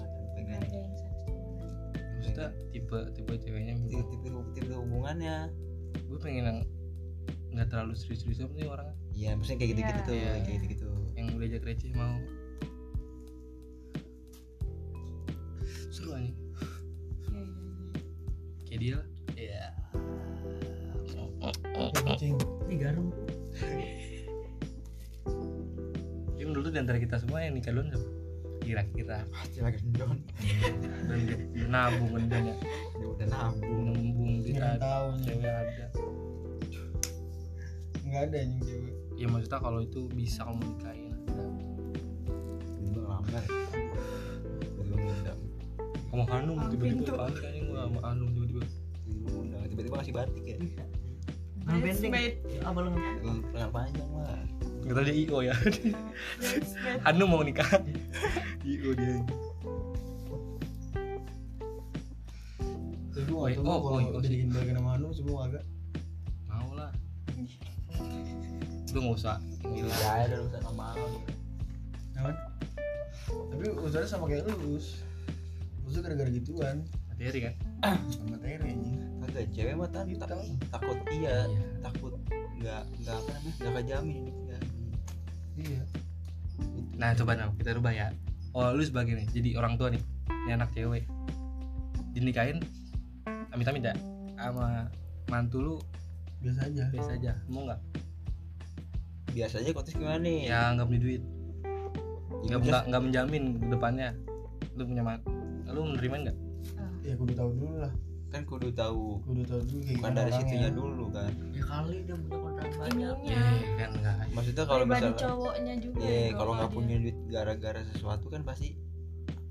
[SPEAKER 2] Hubungan yang pengen
[SPEAKER 4] Menghargai satu sama lain.
[SPEAKER 1] maksudnya tipe tipe ceweknya
[SPEAKER 2] tipe-tipe tipe hubungannya.
[SPEAKER 1] gue pengen yang nggak terlalu serius-serius apa sih orangnya
[SPEAKER 2] Iya, maksudnya kayak gitu-gitu
[SPEAKER 4] Iya.
[SPEAKER 2] tuh,
[SPEAKER 1] Iya.
[SPEAKER 2] kayak gitu-, gitu-gitu.
[SPEAKER 1] yang udah ajak receh mau seru anjing
[SPEAKER 4] Iya, iya, iya.
[SPEAKER 1] kayak dia lah iya
[SPEAKER 3] Kencing.
[SPEAKER 5] ini garam
[SPEAKER 1] ini menurut lu diantara kita semua yang nikah duluan siapa? kira-kira
[SPEAKER 2] Pasti lagi gendon.
[SPEAKER 1] dan dia nabung kan dia ya.
[SPEAKER 2] Ya udah nabung.
[SPEAKER 1] nabung dia
[SPEAKER 3] Nggak
[SPEAKER 1] ada
[SPEAKER 3] tahu nih.
[SPEAKER 1] cewek ada
[SPEAKER 3] nggak ada anjing cewek
[SPEAKER 1] ya maksudnya kalau itu bisa kamu nikahin ada
[SPEAKER 2] Tiba ngelamar. Tiba-tiba ngundang.
[SPEAKER 1] sama Hanum
[SPEAKER 4] Maafin
[SPEAKER 1] tiba-tiba
[SPEAKER 4] tuh.
[SPEAKER 1] apaan kayaknya gua sama Hanum tiba-tiba
[SPEAKER 2] Tiba-tiba ngundang. Tiba-tiba ngasih batik ya.
[SPEAKER 4] iya.
[SPEAKER 2] Nah,
[SPEAKER 5] Lengan pendek
[SPEAKER 4] Bridesmaid,
[SPEAKER 5] apa lengan
[SPEAKER 2] Lengan lengan panjang lah.
[SPEAKER 1] nggak tahu dia IO ya
[SPEAKER 4] bridesmaid.
[SPEAKER 1] Hanum mau nikah IO dia
[SPEAKER 3] tapi gua nggak
[SPEAKER 1] Oh,
[SPEAKER 3] tahu
[SPEAKER 1] oh,
[SPEAKER 3] kalau
[SPEAKER 1] oh,
[SPEAKER 3] udah
[SPEAKER 1] sih.
[SPEAKER 3] dihindari sama Hanum semua agak
[SPEAKER 1] mau lah lu nggak usah gila
[SPEAKER 2] Ya ada urusan sama malam.
[SPEAKER 3] Nawan tapi usahanya sama kayak lu us usah gara-gara gituan
[SPEAKER 1] materi kan
[SPEAKER 3] sama materi anjing
[SPEAKER 2] Kagak cewek mah tak, tak, takut iya, takut nggak nggak apa namanya nggak kejamin ya. hidupnya.
[SPEAKER 3] iya
[SPEAKER 2] Gitu.
[SPEAKER 1] nah coba Nam, kita rubah ya oh lu sebagai nih jadi orang tua nih ini anak cewek dinikahin amit amit ya sama mantu lu
[SPEAKER 3] biasa aja
[SPEAKER 1] biasa aja mau nggak
[SPEAKER 2] biasanya kontes gimana nih?
[SPEAKER 1] ya nggak punya duit nggak
[SPEAKER 2] Ya,
[SPEAKER 1] nggak nggak menjamin ke depannya lu punya man lu menerima nggak
[SPEAKER 3] ya kudu tahu dulu lah
[SPEAKER 2] kan kudu tahu
[SPEAKER 3] kudu tahu dulu kayak
[SPEAKER 2] bukan
[SPEAKER 3] gimana
[SPEAKER 2] dari
[SPEAKER 3] Iya, orangnya.
[SPEAKER 2] situnya dulu kan.
[SPEAKER 5] ya kali dia punya kontrak banyak
[SPEAKER 4] Ininya.
[SPEAKER 1] kan nggak
[SPEAKER 2] Maksudnya Iya. kalau
[SPEAKER 4] pribadi Iya,
[SPEAKER 2] misalnya
[SPEAKER 4] cowoknya juga
[SPEAKER 2] ya
[SPEAKER 4] yang
[SPEAKER 2] kalau nggak
[SPEAKER 4] dia-
[SPEAKER 2] punya duit gara-gara sesuatu kan pasti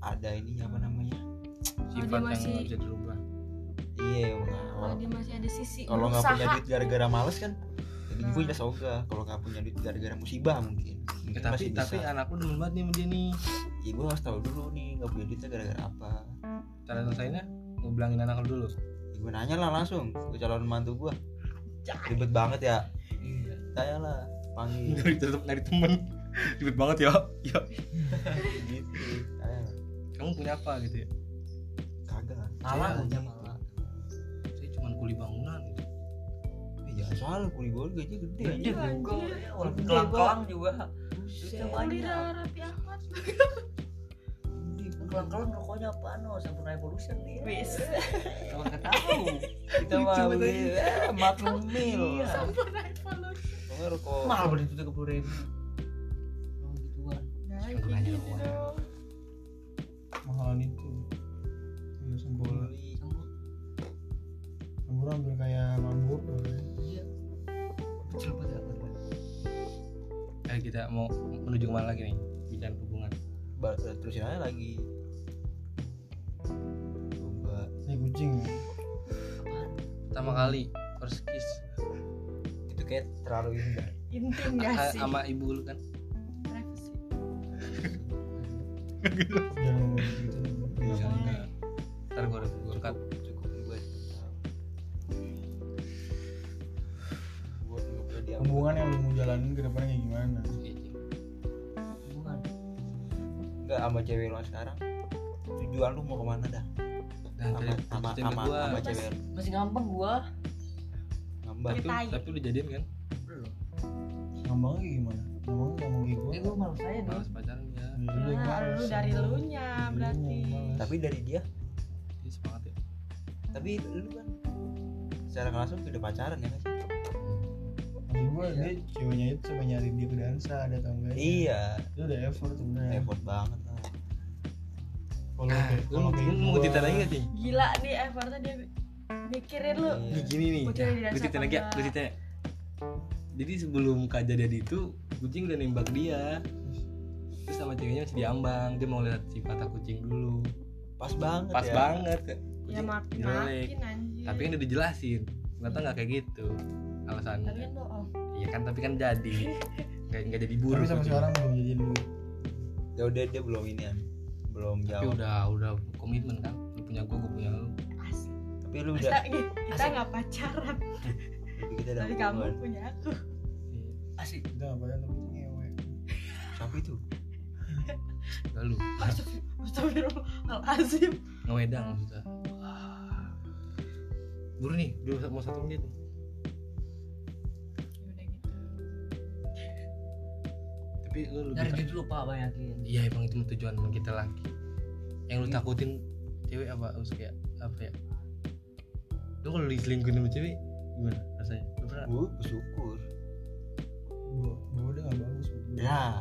[SPEAKER 2] ada ini apa namanya?
[SPEAKER 4] Kalau
[SPEAKER 1] sifat
[SPEAKER 4] dia
[SPEAKER 1] yang
[SPEAKER 4] masih
[SPEAKER 1] nggak bisa dirubah
[SPEAKER 2] Iya, nah,
[SPEAKER 4] kalau dia masih ada sisi
[SPEAKER 2] kalau nggak punya
[SPEAKER 4] berusaha.
[SPEAKER 2] duit gara-gara males kan jadi
[SPEAKER 4] Nah.
[SPEAKER 2] gue jelas ogah kalau nggak punya duit gara-gara musibah mungkin, mungkin
[SPEAKER 1] Ya, tapi
[SPEAKER 2] masih
[SPEAKER 1] tapi
[SPEAKER 2] bisa.
[SPEAKER 1] anak lu demen banget nih sama dia nih
[SPEAKER 2] ya gue harus tahu dulu nih nggak punya duitnya gara-gara apa
[SPEAKER 1] cara selesainya lu bilangin anak lu dulu
[SPEAKER 2] Ya, gue nanya lah langsung ke calon mantu gue ribet banget ya
[SPEAKER 5] Iya.
[SPEAKER 2] saya lah panggil
[SPEAKER 1] dari tetep dari temen ribet banget ya ya
[SPEAKER 2] gitu saya lah.
[SPEAKER 1] kamu punya apa gitu ya
[SPEAKER 2] kagak
[SPEAKER 5] Malah,
[SPEAKER 2] Saya
[SPEAKER 5] punya
[SPEAKER 2] gitu.
[SPEAKER 5] malah.
[SPEAKER 1] saya cuma kuli bangunan gitu
[SPEAKER 2] Eh, jangan soal kuli gol gaji gede
[SPEAKER 5] Gede
[SPEAKER 2] anjing.
[SPEAKER 5] bego,
[SPEAKER 4] anjir.
[SPEAKER 5] ya, walaupun kelang-kelang juga.
[SPEAKER 2] Buset.
[SPEAKER 5] Duitnya
[SPEAKER 4] Beli
[SPEAKER 5] banyak.
[SPEAKER 4] darah Raffi Ahmad
[SPEAKER 5] Kelang-kelang rokoknya apaan no? Sampurna Evolution nih.
[SPEAKER 4] Wis.
[SPEAKER 5] Kalau nggak tahu, kita
[SPEAKER 2] Lucu
[SPEAKER 5] mah
[SPEAKER 2] banget
[SPEAKER 5] beli
[SPEAKER 2] anjing.
[SPEAKER 5] eh, maklumil.
[SPEAKER 2] Iya.
[SPEAKER 4] Sampur Evolution
[SPEAKER 2] Pokoknya rokok
[SPEAKER 5] Mahal beli itu tiga puluh ribu. Oh, gituan.
[SPEAKER 4] Nah,
[SPEAKER 5] Suka
[SPEAKER 4] kayak
[SPEAKER 5] nanya
[SPEAKER 4] gitu
[SPEAKER 5] orang.
[SPEAKER 4] dong.
[SPEAKER 3] mahalan itu iya sempurna
[SPEAKER 2] beli
[SPEAKER 3] sempurna hampir kayak mambur
[SPEAKER 5] Kecil banget.
[SPEAKER 1] ya kita mau menuju kemana lagi nih bicara hubungan
[SPEAKER 2] Ba- terusin aja lagi coba
[SPEAKER 3] ini kucing ya
[SPEAKER 1] pertama kali first kiss
[SPEAKER 2] itu kayak terlalu indah
[SPEAKER 4] Intim gak
[SPEAKER 1] A-
[SPEAKER 4] sih?
[SPEAKER 1] sama ibu lu kan
[SPEAKER 4] Privacy.
[SPEAKER 3] jangan ngomong gitu
[SPEAKER 1] Iya,
[SPEAKER 4] boleh.
[SPEAKER 1] enggak. ntar gue gue cut
[SPEAKER 2] cukup gue gue nggak boleh diam
[SPEAKER 3] hubungan yang lu mau jalanin ke depannya kayak gimana
[SPEAKER 1] Iya,
[SPEAKER 5] Hubungan.
[SPEAKER 2] nggak sama cewek lo sekarang tujuan lu mau kemana dah
[SPEAKER 1] nah,
[SPEAKER 2] sama
[SPEAKER 1] tadi putusin
[SPEAKER 2] sama sama
[SPEAKER 1] gua.
[SPEAKER 2] sama
[SPEAKER 4] Mas-
[SPEAKER 2] cewek lu.
[SPEAKER 5] Masih ngambang gua.
[SPEAKER 2] ngambang
[SPEAKER 1] Tapi-
[SPEAKER 4] Tai.
[SPEAKER 1] tapi lu jadian kan
[SPEAKER 3] ngambangnya kayak gimana ngambangnya nggak mau kayak gue
[SPEAKER 5] Eh, gua malas aja dong.
[SPEAKER 1] males pacaran ya
[SPEAKER 3] Dari dulu yang
[SPEAKER 4] Nah,
[SPEAKER 3] males.
[SPEAKER 4] lu dari lunya berarti.
[SPEAKER 3] Iya,
[SPEAKER 2] tapi dari dia
[SPEAKER 1] dia semangat ya
[SPEAKER 2] tapi lu kan secara nggak langsung udah pacaran ya nggak sih?
[SPEAKER 3] maksud gue dia ceweknya itu sampai nyari dia ke dansa ada atau enggak
[SPEAKER 2] iya
[SPEAKER 3] itu udah effort sebenarnya
[SPEAKER 2] effort banget lah
[SPEAKER 3] kalau
[SPEAKER 1] nah
[SPEAKER 3] kayak-
[SPEAKER 1] lu
[SPEAKER 3] kalau
[SPEAKER 1] mau
[SPEAKER 3] kayak
[SPEAKER 1] lu mau
[SPEAKER 3] gua-
[SPEAKER 1] titan lagi gak sih
[SPEAKER 4] Gila nih effortnya dia mikirin lu.
[SPEAKER 1] Nih
[SPEAKER 2] Iya.
[SPEAKER 1] gini nih,
[SPEAKER 4] Kucing di dasar
[SPEAKER 1] gue cerita lagi ya,
[SPEAKER 4] tangga.
[SPEAKER 1] gue cerita ya. Jadi sebelum kejadian itu, kucing udah nembak dia. Terus sama ceweknya masih diambang, dia mau lihat sifat kucing dulu.
[SPEAKER 2] pas banget
[SPEAKER 1] Pas
[SPEAKER 2] ya
[SPEAKER 1] banget kan.
[SPEAKER 4] Ya
[SPEAKER 1] Kucing
[SPEAKER 4] makin
[SPEAKER 1] jelek.
[SPEAKER 4] makin anjir.
[SPEAKER 1] Tapi kan udah dijelasin, ternyata nggak kayak gitu
[SPEAKER 4] Tapi kan
[SPEAKER 1] alasannya.
[SPEAKER 4] bohong.
[SPEAKER 1] Iya kan, tapi kan jadi nggak nggak jadi buruk.
[SPEAKER 3] tapi sama
[SPEAKER 1] kucing.
[SPEAKER 3] sekarang belum jadian dulu
[SPEAKER 2] ya udah dia belum ini belum
[SPEAKER 1] Tapi
[SPEAKER 2] jauh
[SPEAKER 1] udah udah komitmen kan, lu punya gua, gua punya lu.
[SPEAKER 4] Asli.
[SPEAKER 2] tapi lu
[SPEAKER 4] Kita,
[SPEAKER 2] udah
[SPEAKER 4] kita nggak pacaran.
[SPEAKER 2] tapi kita udah
[SPEAKER 4] Tapi kamu
[SPEAKER 2] hubungan
[SPEAKER 4] punya aku.
[SPEAKER 1] Iya.
[SPEAKER 5] Asik.
[SPEAKER 3] kita nggak pacaran tapi ngewe
[SPEAKER 2] siapa itu
[SPEAKER 1] Gak lu,
[SPEAKER 4] Astagfirullahalazim.
[SPEAKER 1] ngewedang maksudnya. Buru nih, udah mau satu menit nih.
[SPEAKER 4] Udah gitu.
[SPEAKER 1] Tapi lu
[SPEAKER 5] Dari
[SPEAKER 1] lebih
[SPEAKER 5] itu lupa bayangin.
[SPEAKER 1] Iya emang itu tujuan kita laki Yang lu takutin cewek apa harus kayak apa ya? Lu kalau diselingkuhin sama cewek gimana rasanya? Lu pernah?
[SPEAKER 2] gue bersyukur
[SPEAKER 3] Bawa- bawa dia nggak bagus menurut gua.
[SPEAKER 2] nah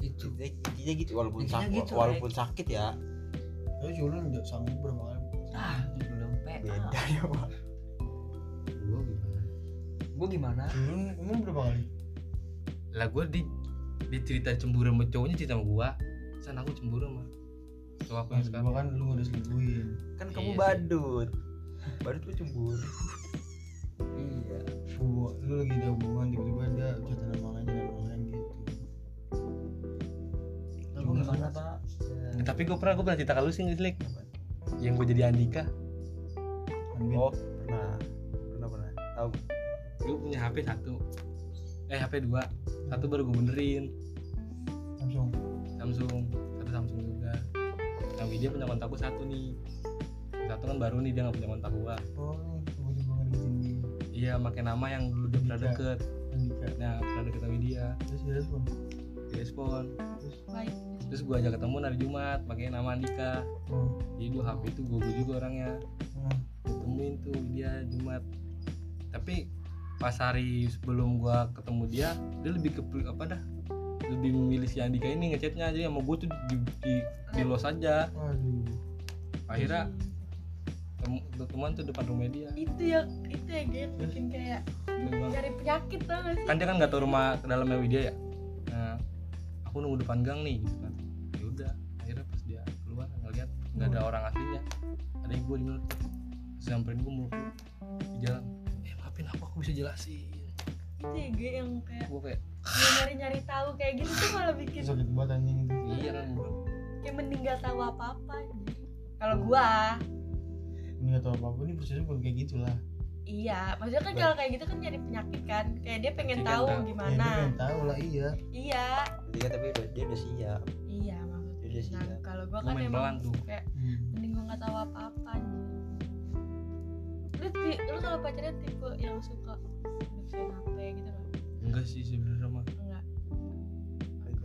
[SPEAKER 5] Itu.
[SPEAKER 2] intinya intinya gitu walaupun
[SPEAKER 5] Intinya
[SPEAKER 2] sakit
[SPEAKER 5] gitu,
[SPEAKER 2] walaupun sakit ya
[SPEAKER 3] tapi culun nggak sanggup berapa kali
[SPEAKER 5] Ah, itu belum PA.
[SPEAKER 2] beda ya pak
[SPEAKER 1] Gua gimana?
[SPEAKER 5] Gua gimana?
[SPEAKER 3] culun emang berapa kali
[SPEAKER 1] Lah gua di di cerita cemburu sama cowoknya cerita sama gua. San aku cemburu sama cowok aku yang
[SPEAKER 3] Maksud
[SPEAKER 1] sekarang.
[SPEAKER 3] gua kan lu nggak diselingkuhin
[SPEAKER 2] kan
[SPEAKER 1] Iya
[SPEAKER 2] kamu
[SPEAKER 1] sih.
[SPEAKER 2] badut badut lu cemburu
[SPEAKER 5] Iya.
[SPEAKER 3] Hubungan- lu lagi ada hubungan tiba-tiba ada jatuh sama orang lain dengan orang lain gitu
[SPEAKER 5] Lu gimana, Pak?
[SPEAKER 1] Nah, tapi gua pernah gua pernah cerita ke lu sih ngejelek. Yang gua jadi Andika,
[SPEAKER 3] Ambil.
[SPEAKER 2] oh pernah pernah pernah tahu
[SPEAKER 1] gua punya HP satu. Eh HP dua. Satu baru gua benerin
[SPEAKER 3] langsung
[SPEAKER 1] Samsung, satu Samsung juga. Tapi dia punya kontak gua satu nih. Satu kan baru nih dia nggak punya kontak gua.
[SPEAKER 3] oh tiba-tiba nggak diizin dia
[SPEAKER 1] Iya, pakai nama yang dulu udah pernah
[SPEAKER 3] Iya.
[SPEAKER 1] deket.
[SPEAKER 3] Andika
[SPEAKER 1] Nah, pernah deket sama dia,
[SPEAKER 3] terus dia respon
[SPEAKER 1] direspon.
[SPEAKER 3] terus
[SPEAKER 4] Baik.
[SPEAKER 1] Terus gua ajak ketemu hari Jumat, pakai nama Andika.
[SPEAKER 3] oh
[SPEAKER 1] Jadi dua HP itu gua gua juga orangnya.
[SPEAKER 3] nah,
[SPEAKER 1] Ketemuin tuh dia Jumat. Tapi pas hari sebelum gua ketemu dia, dia lebih ke apa dah? Lebih memilih si Andika ini ngechatnya aja sama gua tuh di, di, di los aja.
[SPEAKER 3] waduh
[SPEAKER 1] Akhirnya tem- ketemuan tuh depan rumah dia.
[SPEAKER 4] Itu yang itu yang dia bikin kayak
[SPEAKER 1] Dia bilang,
[SPEAKER 4] cari penyakit tau gak sih?
[SPEAKER 1] kan dia kan nggak tahu rumah ke dalamnya Widya ya nah aku nunggu depan gang nih gitu kan ya udah akhirnya pas dia keluar ngeliat nggak ada orang aslinya ada ibu di mulut terus samperin gue meluk di jalan eh maafin aku aku bisa jelasin
[SPEAKER 4] Itu yang dia yang kayak
[SPEAKER 1] gue kayak
[SPEAKER 4] dia nyari-nyari tahu kayak gitu tuh malah bikin
[SPEAKER 3] Terus sakit banget anjing itu
[SPEAKER 1] iya kan gue
[SPEAKER 4] kayak meninggal tahu apa apa kalau gua
[SPEAKER 3] ini atau apa apa ini prosesnya bukan kayak gitulah
[SPEAKER 4] Iya, maksudnya kan kalau kayak gitu kan nyari penyakit kan. Kayak dia pengen
[SPEAKER 1] Dia kan
[SPEAKER 4] tahu
[SPEAKER 1] tahu.
[SPEAKER 3] ya dia
[SPEAKER 4] gimana.
[SPEAKER 3] pengen tahu lah iya
[SPEAKER 4] Iya.
[SPEAKER 2] Berarti kan tapi udah- dia udah siap
[SPEAKER 4] Iya,
[SPEAKER 2] Dia udah
[SPEAKER 4] maksudnya.
[SPEAKER 2] siap
[SPEAKER 4] Nah, kalau gua
[SPEAKER 1] Gua
[SPEAKER 4] kan
[SPEAKER 1] main pelan
[SPEAKER 4] emang
[SPEAKER 1] tuh.
[SPEAKER 4] kayak mending gua nggak tahu apa-apa. anjing. Lu ti- lu kalau pacarnya tipe yang suka ngurusin HP gitu loh.
[SPEAKER 1] enggak sih sebenarnya mah
[SPEAKER 4] Enggak.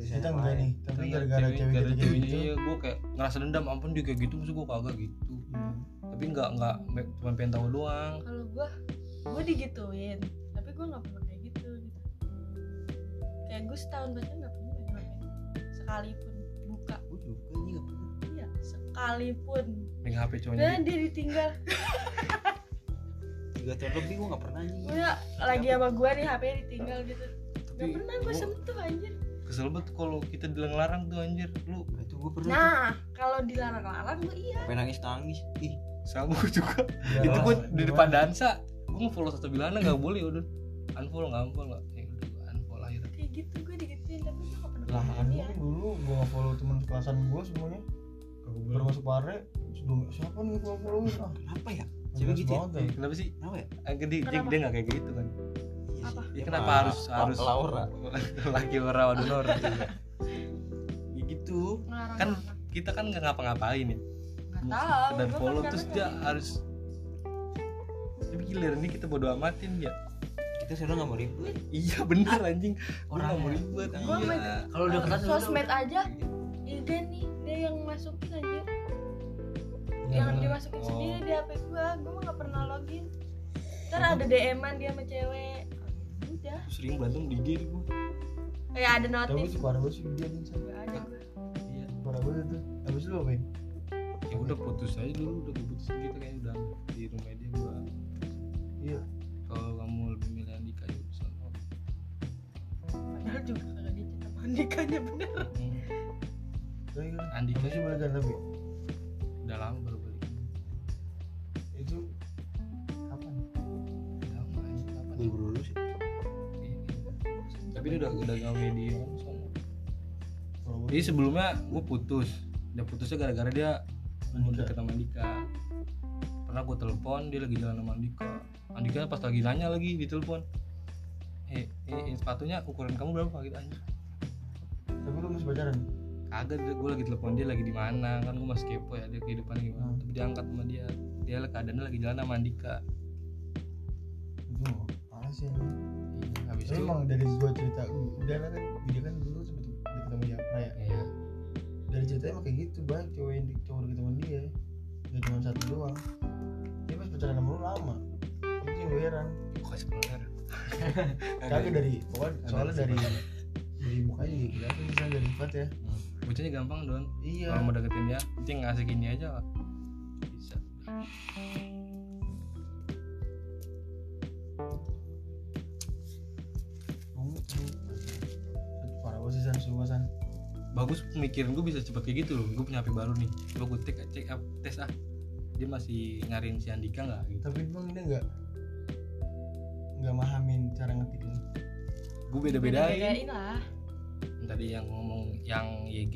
[SPEAKER 3] kita enggak
[SPEAKER 2] ya?
[SPEAKER 3] nih tapi gara-gara Iya, cewek
[SPEAKER 1] gara
[SPEAKER 3] gitu
[SPEAKER 1] ceweknya
[SPEAKER 3] gitu
[SPEAKER 1] iya gue kayak ngerasa dendam ampun dia kayak gitu maksud gue kagak gitu
[SPEAKER 3] Hmm.
[SPEAKER 1] tapi nggak nggak me- cuma pengen tahu doang
[SPEAKER 4] Kalau gua gua digituin, tapi gua nggak pernah kayak gitu gitu. Kayak gua setahun pacaran nggak pernah yang namanya sekalipun buka.
[SPEAKER 2] Gue juga ini gak pernah
[SPEAKER 4] Iya, sekalipun.
[SPEAKER 1] pengen hp cowoknya
[SPEAKER 4] Dan dia ditinggal
[SPEAKER 2] Tiga tahun lebih gue gak pernah anjing
[SPEAKER 4] Udah lagi sama gua nih HP-nya ditinggal gitu. Gak
[SPEAKER 1] Iya. tapi
[SPEAKER 4] pernah gue
[SPEAKER 1] gua
[SPEAKER 4] sentuh anjir.
[SPEAKER 1] kesel banget kalau kita dilarang tuh anjir lu
[SPEAKER 2] Nah, Itu gue pernah
[SPEAKER 4] Nah, kalau dilarang-larang gue iya.
[SPEAKER 2] Pengen nangis-nangis Ih
[SPEAKER 1] sama gue juga
[SPEAKER 3] Iya,
[SPEAKER 1] itu gue di depan dansa gue ngefollow satu bilana nggak boleh udah unfollow nggak unfollow nggak ya udah gua unfollow akhirnya
[SPEAKER 4] Kayak gitu gue digituin tapi gue gak pernah
[SPEAKER 3] lah
[SPEAKER 1] anu.
[SPEAKER 4] ngelakuin
[SPEAKER 3] anjing
[SPEAKER 4] dia.
[SPEAKER 3] dulu gua follow teman sekelasan gua semuanya baru masuk pare sebelum siapa nih gua followin ah
[SPEAKER 2] Kenapa ya? Cewek
[SPEAKER 3] jelas
[SPEAKER 2] gitu ya?
[SPEAKER 3] banget dah. Iya,
[SPEAKER 1] Eh, kenapa sih
[SPEAKER 2] Kenapa ya?
[SPEAKER 1] Ah, gede dia
[SPEAKER 4] Kenapa?
[SPEAKER 1] dia nggak kayak gitu kan
[SPEAKER 2] Iya sih.
[SPEAKER 4] Apa?
[SPEAKER 1] ya,
[SPEAKER 2] Ya,
[SPEAKER 1] kenapa
[SPEAKER 2] Pak.
[SPEAKER 1] harus
[SPEAKER 2] La-
[SPEAKER 1] harus
[SPEAKER 2] Laura
[SPEAKER 1] laki ora donor
[SPEAKER 2] Ya gitu
[SPEAKER 4] Ngelarang
[SPEAKER 1] Kan- kita kan nggak ngapa-ngapain ya dan
[SPEAKER 4] Nggak tahu, gua kan
[SPEAKER 1] follow
[SPEAKER 4] karena
[SPEAKER 1] terus
[SPEAKER 4] kayak
[SPEAKER 1] dia
[SPEAKER 4] gitu.
[SPEAKER 1] harus tapi giliran ini kita bodo amatin ya
[SPEAKER 2] Kita sudah gak mau ribut
[SPEAKER 1] iya bener anjing gue
[SPEAKER 2] Orangnya.
[SPEAKER 1] nggak mau ribet
[SPEAKER 4] Gua
[SPEAKER 1] iya
[SPEAKER 4] main-
[SPEAKER 5] Kalau udah kelas
[SPEAKER 4] sosmed aja IG nih dia yang masukin aja yang
[SPEAKER 3] kan?
[SPEAKER 4] dimasukin
[SPEAKER 1] Iya, Oh.
[SPEAKER 4] sendiri di HP gue gue mah gak pernah login ntar ada DM-an dia sama cewek udah
[SPEAKER 1] sering berantem di game gue
[SPEAKER 4] kayak ada
[SPEAKER 3] tapi
[SPEAKER 4] notif
[SPEAKER 3] sih parah banget sih dia nih
[SPEAKER 4] Gak ada gua.
[SPEAKER 1] iya
[SPEAKER 3] parah banget tuh abis lu apa
[SPEAKER 1] ya udah putus aja dulu udah gua putus gitu kayak udah di rumah dia gue
[SPEAKER 3] Iya.
[SPEAKER 1] kalau kamu lebih milih Andika ya urusan kamu.
[SPEAKER 4] padahal juga kagak dicet sama nikahnya bener
[SPEAKER 1] Hmm,
[SPEAKER 3] tapi kan
[SPEAKER 1] Andika
[SPEAKER 3] Kamu sih
[SPEAKER 1] sih
[SPEAKER 3] balikan tapi
[SPEAKER 1] udah lama baru balik
[SPEAKER 3] itu kapan
[SPEAKER 1] Udah lama anjing kapan
[SPEAKER 2] Gue dulu sih
[SPEAKER 1] Iya, iya. tapi dia udah udah gawe di orang sono
[SPEAKER 3] Parah banget.
[SPEAKER 1] jadi sebelumnya gue putus udah putusnya gara-gara dia mau
[SPEAKER 3] Andika.
[SPEAKER 1] deket sama Andika pernah gue telepon dia lagi jalan sama Andika Andika pas lagi nanya lagi di telepon eh, eh, eh, sepatunya ukuran kamu berapa gitu aja
[SPEAKER 3] tapi lu masih pacaran
[SPEAKER 1] kagak gue lagi telepon dia lagi di mana kan gue masih kepo ya dia kehidupannya gimana
[SPEAKER 3] Hmm.
[SPEAKER 1] tapi diangkat sama dia dia keadaannya lagi jalan sama Andika
[SPEAKER 3] itu mau parah sih anjing.
[SPEAKER 1] iya, habis
[SPEAKER 3] Tapi
[SPEAKER 1] itu
[SPEAKER 3] emang dari gua cerita udah lah kan dia kan dulu sempet deket sama Japra ya
[SPEAKER 1] iya.
[SPEAKER 3] dari ceritanya emang kayak gitu banyak cowok yang di- cowok deket sama dia gak cuma satu doang dia pas pacaran sama lu lama itu yang gue heran
[SPEAKER 1] gue kasih pelan
[SPEAKER 3] kagak dari pokoknya
[SPEAKER 1] Ada
[SPEAKER 3] soalnya
[SPEAKER 1] sih,
[SPEAKER 3] dari dari mukanya juga gitu. kelihatan bisa dari sifat ya
[SPEAKER 1] bocahnya gampang don
[SPEAKER 3] iya
[SPEAKER 1] kalau mau deketin dia penting ngasih gini aja lah bisa
[SPEAKER 3] Kamu- kamu- Aduh, parah banget sih san sumpah san
[SPEAKER 1] bagus pemikiran gue bisa cepet kayak gitu loh gue punya HP baru nih coba gue cek cek up, tes ah dia masih nyariin si Andika nggak gitu
[SPEAKER 3] tapi emang dia nggak nggak mahamin cara ngetikin
[SPEAKER 1] gue beda bedain
[SPEAKER 4] bedain lah
[SPEAKER 1] tadi yang ngomong yang YG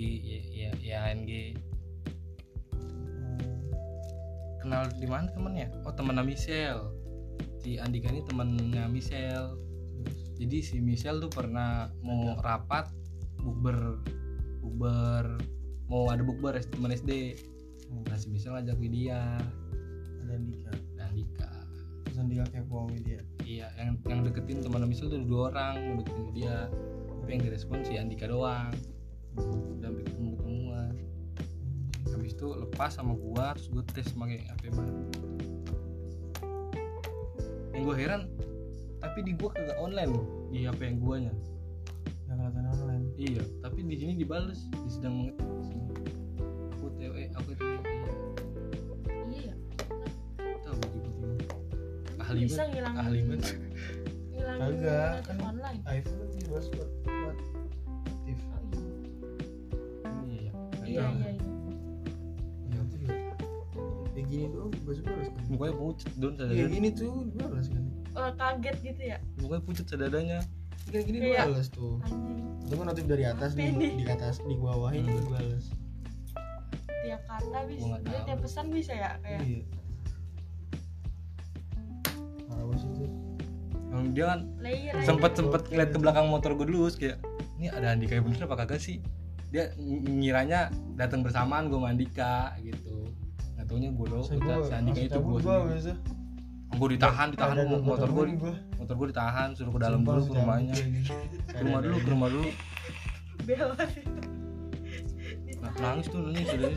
[SPEAKER 1] ya YNG
[SPEAKER 3] Hmm.
[SPEAKER 1] kenal di mana temennya oh temennya Michelle si Andika ini temennya Michelle jadi si Michelle tuh pernah mau rapat bukber bukber mau ada bukber temen SD
[SPEAKER 3] Hmm.
[SPEAKER 1] nah si Michelle ngajak Widya
[SPEAKER 3] ada Andika
[SPEAKER 1] dan Andika
[SPEAKER 3] terus Andika gitu kepo sama dia
[SPEAKER 1] Iya, yang yang deketin teman Michel tuh ada dua orang mau deketin dia. Tapi yang direspon si Andika doang. Dan ketemu ketemuan.
[SPEAKER 3] Hmm.
[SPEAKER 1] Habis itu lepas sama gua, terus gua tes pakai HP baru. Yang gua heran, tapi di gua kagak online loh di HP yang guanya.
[SPEAKER 3] nggak kelihatan online
[SPEAKER 1] Iya, tapi di sini dibales, di sedang mengetik. Aku TWE, aku TWE. Iya,
[SPEAKER 4] iya
[SPEAKER 1] tahu tiba-tiba. Ahli
[SPEAKER 4] bisa
[SPEAKER 1] banget,
[SPEAKER 4] ngilangin
[SPEAKER 1] ahli banget. Iya,
[SPEAKER 4] ngilangin
[SPEAKER 3] Kagak,
[SPEAKER 4] notif
[SPEAKER 3] kan-
[SPEAKER 4] online
[SPEAKER 3] iPhone kan dia buat buat aktif
[SPEAKER 4] oh,
[SPEAKER 1] Iya,
[SPEAKER 4] iya
[SPEAKER 1] kagak.
[SPEAKER 4] iya iya
[SPEAKER 3] ya itu juga kayak gini doang dibahas balas kan
[SPEAKER 1] Mukanya pucet, don
[SPEAKER 3] kayak
[SPEAKER 1] sadadanya.
[SPEAKER 3] gini tuh dibalas kan
[SPEAKER 4] Orang kaget gitu ya
[SPEAKER 1] Mukanya pucet sadadanya.
[SPEAKER 3] kayak gini
[SPEAKER 4] Iya.
[SPEAKER 3] dibalas tuh
[SPEAKER 4] anjing
[SPEAKER 3] itu kan notif dari atas
[SPEAKER 4] Apa
[SPEAKER 3] di,
[SPEAKER 4] ini?
[SPEAKER 3] di atas di bawah ini
[SPEAKER 1] Hmm.
[SPEAKER 3] dibalas
[SPEAKER 4] tiap kata
[SPEAKER 1] Gua
[SPEAKER 4] bisa
[SPEAKER 1] nggak
[SPEAKER 4] dia
[SPEAKER 1] tahu.
[SPEAKER 4] tiap pesan bisa ya kayak
[SPEAKER 3] iya di situ
[SPEAKER 1] Emang dia kan
[SPEAKER 6] player aja.
[SPEAKER 1] sempet sempet ngeliat ke belakang motor gue dulu terus kayak ini ada Andika yang bener apa kagak sih dia ng- ngiranya datang bersamaan gue sama Andika gitu nggak taunya gue doang
[SPEAKER 3] Saya gua
[SPEAKER 1] si Andika
[SPEAKER 3] langsung
[SPEAKER 1] itu
[SPEAKER 3] cabut
[SPEAKER 1] gue
[SPEAKER 3] gua biasa.
[SPEAKER 1] gue ditahan ditahan
[SPEAKER 3] Ada
[SPEAKER 1] mo-
[SPEAKER 3] dua
[SPEAKER 1] motor gue
[SPEAKER 3] gua.
[SPEAKER 1] motor gue ditahan suruh ke dalam
[SPEAKER 3] Sumpah,
[SPEAKER 1] dulu ke
[SPEAKER 3] cabut
[SPEAKER 1] rumahnya
[SPEAKER 3] gua ini.
[SPEAKER 1] ke rumah dulu ke rumah dulu
[SPEAKER 6] Bel.
[SPEAKER 1] Nah, nangis tuh nangis sudah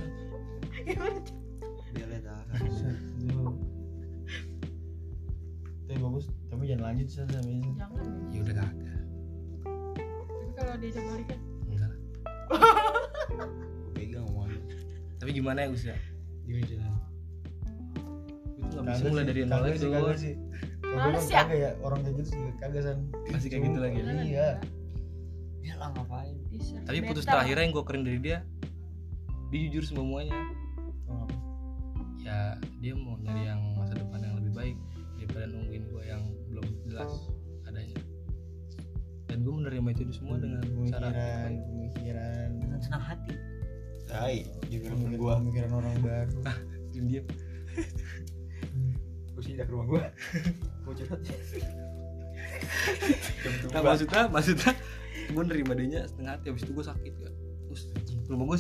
[SPEAKER 6] Gimana?
[SPEAKER 3] Set, dulu. Tapi bagus, tapi jangan lanjut sih
[SPEAKER 6] Jangan.
[SPEAKER 1] ya udah kagak
[SPEAKER 6] Tapi kalau dia kan, udah balikan,
[SPEAKER 1] enggak lah.
[SPEAKER 2] pegang uang
[SPEAKER 1] tapi gimana ya Gus ya
[SPEAKER 3] Gimana jalan?
[SPEAKER 1] itu nggak bisa mulai dari nol lagi tuh
[SPEAKER 3] Kagak sih. Kalau gua
[SPEAKER 6] Males
[SPEAKER 3] kan
[SPEAKER 6] ya?
[SPEAKER 3] kagak ya, orang kayak gitu sih kagak san.
[SPEAKER 1] masih kayak gitu lagi ya.
[SPEAKER 6] jangan.
[SPEAKER 3] Iya.
[SPEAKER 2] ya lah ngapain
[SPEAKER 6] Deserve
[SPEAKER 1] tapi putus
[SPEAKER 6] better.
[SPEAKER 1] terakhir yang gue keren dari dia dia jujur semuanya
[SPEAKER 3] Oh,
[SPEAKER 1] ya dia mau nyari yang masa depan yang lebih baik daripada nungguin gue yang belum jelas adanya dan gue menerima itu semua dengan cara
[SPEAKER 3] Pemikiran, pemikiran,
[SPEAKER 5] dengan senang hati
[SPEAKER 2] tai jujur
[SPEAKER 3] pemikiran,
[SPEAKER 2] gua
[SPEAKER 3] pemikiran orang baru.
[SPEAKER 1] Ah. diam diam
[SPEAKER 2] gua sih ke rumah gua gua curhat Jam dua.
[SPEAKER 1] nah, maksudnya maksudnya gue nerima dianya setengah hati habis itu gue sakit ya terus rumah gue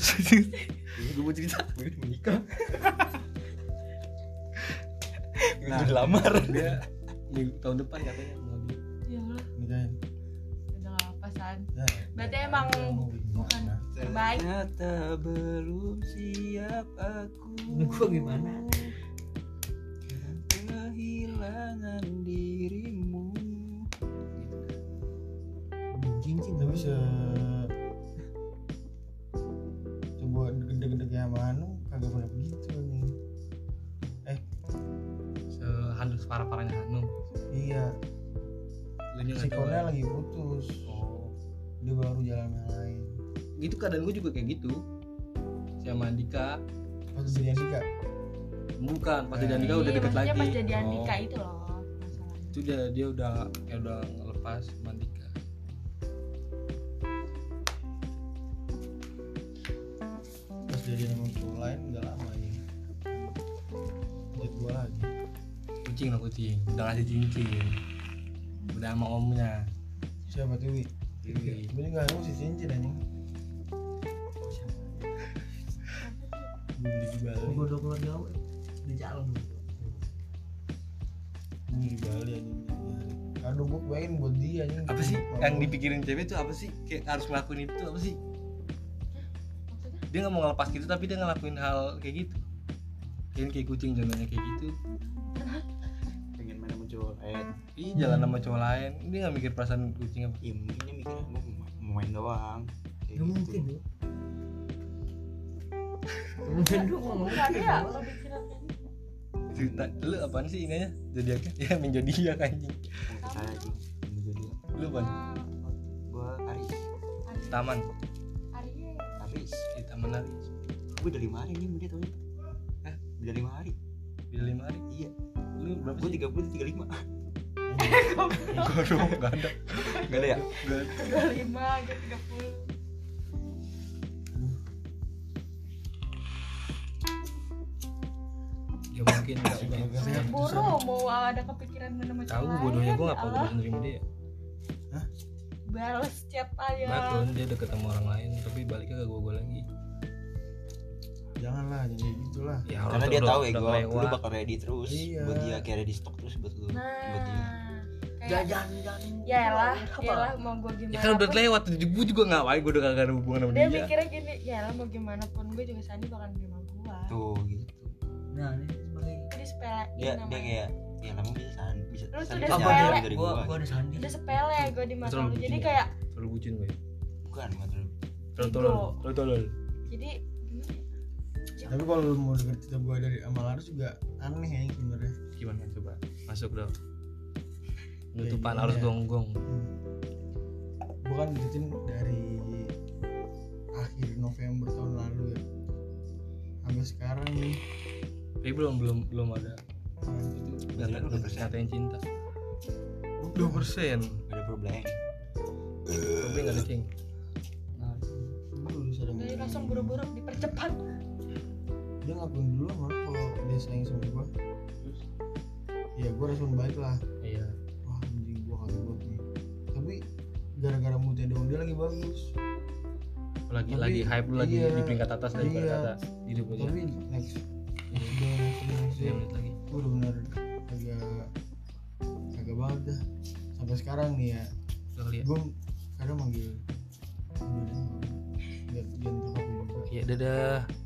[SPEAKER 1] gue mau cerita
[SPEAKER 2] Gua itu menikah
[SPEAKER 1] Nah.
[SPEAKER 2] nah, dilamar
[SPEAKER 1] dia minggu- tahun depan katanya mau di
[SPEAKER 6] Ya Allah,
[SPEAKER 3] Nikahin.
[SPEAKER 6] udah nggak apa san.
[SPEAKER 3] Nah,
[SPEAKER 6] Berarti emang bu- bukan terbaik.
[SPEAKER 5] ternyata belum siap aku
[SPEAKER 2] Gua gimana?
[SPEAKER 5] kehilangan dirimu
[SPEAKER 3] cincin tapi se coba gede-gedegnya sama Anu kagak pernah begitu nih
[SPEAKER 1] sehalus parah parahnya Hanum
[SPEAKER 3] iya
[SPEAKER 1] lu nya
[SPEAKER 3] si
[SPEAKER 1] nggak tahu
[SPEAKER 3] Kona
[SPEAKER 1] ya.
[SPEAKER 3] lagi putus
[SPEAKER 1] oh
[SPEAKER 3] dia baru jalan yang lain
[SPEAKER 1] gitu keadaan gue juga kayak gitu si sama Andika
[SPEAKER 3] pas jadi Andika
[SPEAKER 1] bukan pas jadi Andika udah
[SPEAKER 6] Iya,
[SPEAKER 1] deket
[SPEAKER 6] maksudnya
[SPEAKER 1] lagi
[SPEAKER 6] Pas jadi Andika
[SPEAKER 1] Oh.
[SPEAKER 6] itu loh masalahnya.
[SPEAKER 1] itu dia dia udah ya udah ngelepas Mandika
[SPEAKER 3] pas jadi sama cowok lain nggak lama ya jadi gua lagi
[SPEAKER 1] kucing lah kucing udah ngasih cincin udah sama omnya
[SPEAKER 3] siapa tuh Wi?
[SPEAKER 2] Iya.
[SPEAKER 1] Wi.
[SPEAKER 3] Wi nggak mau si cincin aja beli Oh, di Bali
[SPEAKER 5] gue udah keluar gawe
[SPEAKER 3] eh.
[SPEAKER 5] udah jalan
[SPEAKER 3] beli di Bali anjing aduh gua pengen buat dia anjing
[SPEAKER 1] apa sih
[SPEAKER 3] Bagus.
[SPEAKER 1] yang dipikirin cewek itu apa sih kayak harus ngelakuin itu apa sih
[SPEAKER 6] Maksudnya?
[SPEAKER 1] dia nggak mau ngelepas gitu tapi dia ngelakuin hal kayak gitu kayak kayak kucing jalannya kayak gitu
[SPEAKER 2] pengen main sama cowok eh
[SPEAKER 1] ih jalan sama cowok lain dia nggak mikir perasaan kucing apa
[SPEAKER 2] ya mungkin dia mikirnya gua mau main- mau main doang kayak
[SPEAKER 5] Gak mungkin
[SPEAKER 2] gitu.
[SPEAKER 5] ya Mungkin dong ngomong
[SPEAKER 6] Bukan dia kalau pikiran kayak gitu.
[SPEAKER 1] cerita lu apaan sih ini aja zodiaknya ya menjadi ya anjing
[SPEAKER 2] Yang saya sih yang jadi
[SPEAKER 1] lu apaan
[SPEAKER 2] gua Aris
[SPEAKER 6] Aries.
[SPEAKER 1] taman
[SPEAKER 6] Aries.
[SPEAKER 2] Aris
[SPEAKER 1] di taman lari
[SPEAKER 2] gua dari mana ini dia tau Hah? dari lima hari
[SPEAKER 1] udah lima hari
[SPEAKER 2] iya
[SPEAKER 1] lu berapa
[SPEAKER 2] gua
[SPEAKER 1] sih
[SPEAKER 2] tiga puluh tiga lima
[SPEAKER 1] Gua dong nggak ada
[SPEAKER 2] gak ada ya
[SPEAKER 1] Nggak ada.
[SPEAKER 6] 25, dia 30.
[SPEAKER 1] ya mungkin nggak
[SPEAKER 3] Sehat
[SPEAKER 6] Boro mau ada kepikiran menemukan
[SPEAKER 1] tahu bodohnya
[SPEAKER 6] kan?
[SPEAKER 1] gue nggak apa gue nerima dia
[SPEAKER 6] Balas chat aja.
[SPEAKER 1] Bahkan dia deket sama orang lain tapi baliknya ke gue gue lagi
[SPEAKER 3] janganlah Gitu jadi gitulah
[SPEAKER 1] ya
[SPEAKER 2] karena
[SPEAKER 1] orang
[SPEAKER 2] dia
[SPEAKER 1] tuh
[SPEAKER 2] tahu
[SPEAKER 1] udah-
[SPEAKER 2] ya
[SPEAKER 1] udah
[SPEAKER 2] gua lu
[SPEAKER 1] kelewat.
[SPEAKER 2] bakal ready terus
[SPEAKER 3] Iya.
[SPEAKER 2] buat dia kayak ready stok terus buat lu buat dia
[SPEAKER 6] Nah. Kayak,
[SPEAKER 5] Jangan jangan jangan
[SPEAKER 6] ya lah,
[SPEAKER 5] Apa?
[SPEAKER 6] ya lah mau gue
[SPEAKER 1] ya
[SPEAKER 6] gimana
[SPEAKER 1] kan udah
[SPEAKER 6] pun-
[SPEAKER 1] lewat gue juga nggak wae gue udah kagak ada hubungan sama
[SPEAKER 6] Dia
[SPEAKER 1] dia
[SPEAKER 6] mikirnya gini, ya lah mau gimana pun gue juga Sandi bakal nerima gue.
[SPEAKER 2] tuh gitu
[SPEAKER 5] Nah ini sebagai
[SPEAKER 6] Jadi sepele
[SPEAKER 2] dia dia kayak ya kamu bisa san bisa
[SPEAKER 6] Iya, Terus
[SPEAKER 2] san
[SPEAKER 6] udah
[SPEAKER 2] bisa
[SPEAKER 6] sepele.
[SPEAKER 2] nyari dari
[SPEAKER 5] Gua
[SPEAKER 2] gua
[SPEAKER 5] gua ada sandi
[SPEAKER 6] udah sepele gue di mata
[SPEAKER 1] Terlalu
[SPEAKER 6] lu. Jadi
[SPEAKER 1] bucin.
[SPEAKER 6] kayak
[SPEAKER 1] terlalu bucin gue
[SPEAKER 2] bukan bukan terlalu
[SPEAKER 1] terlalu
[SPEAKER 6] Ego.
[SPEAKER 1] tolol terlalu tolol
[SPEAKER 6] jadi gimana? ya?
[SPEAKER 3] tapi kalau lu mau denger cerita gue dari sama Laras juga aneh ya sebenarnya
[SPEAKER 1] gimana coba masuk dong
[SPEAKER 3] Kayak
[SPEAKER 2] Iya.
[SPEAKER 1] penutupan
[SPEAKER 3] gini
[SPEAKER 1] harus
[SPEAKER 3] ya.
[SPEAKER 1] gonggong
[SPEAKER 3] gue kan deketin dari akhir November tahun lalu ya sampai sekarang nih
[SPEAKER 1] tapi Eh, belum belum belum ada itu
[SPEAKER 2] Beneran
[SPEAKER 1] nyata-
[SPEAKER 2] udah Iya, persen.
[SPEAKER 1] nyatain cinta dua persen
[SPEAKER 2] gak ada problem
[SPEAKER 1] tapi nggak ada cing
[SPEAKER 5] Nah,
[SPEAKER 3] gue udah sadar
[SPEAKER 6] Jadi langsung buru-buru dipercepat.
[SPEAKER 3] dia ngakuin dulu mah kalau dia sayang sama gue ya gue respon baik lah
[SPEAKER 1] iya
[SPEAKER 3] wah anjing gue kagak banget nih tapi gara-gara moodnya doang dia lagi bagus
[SPEAKER 1] lagi
[SPEAKER 3] Tapi-
[SPEAKER 1] lagi hype lu lagi
[SPEAKER 3] iya.
[SPEAKER 1] di peringkat atas dari
[SPEAKER 3] Iya.
[SPEAKER 1] peringkat atas hidup aja
[SPEAKER 3] tapi next next day next day next day
[SPEAKER 1] Iya, lihat lagi
[SPEAKER 3] gue udah bener agak agak banget dah sampai sekarang nih ya
[SPEAKER 1] udah kali ya
[SPEAKER 3] gue kadang manggil dia lihat dia terkabul juga
[SPEAKER 1] ya dadah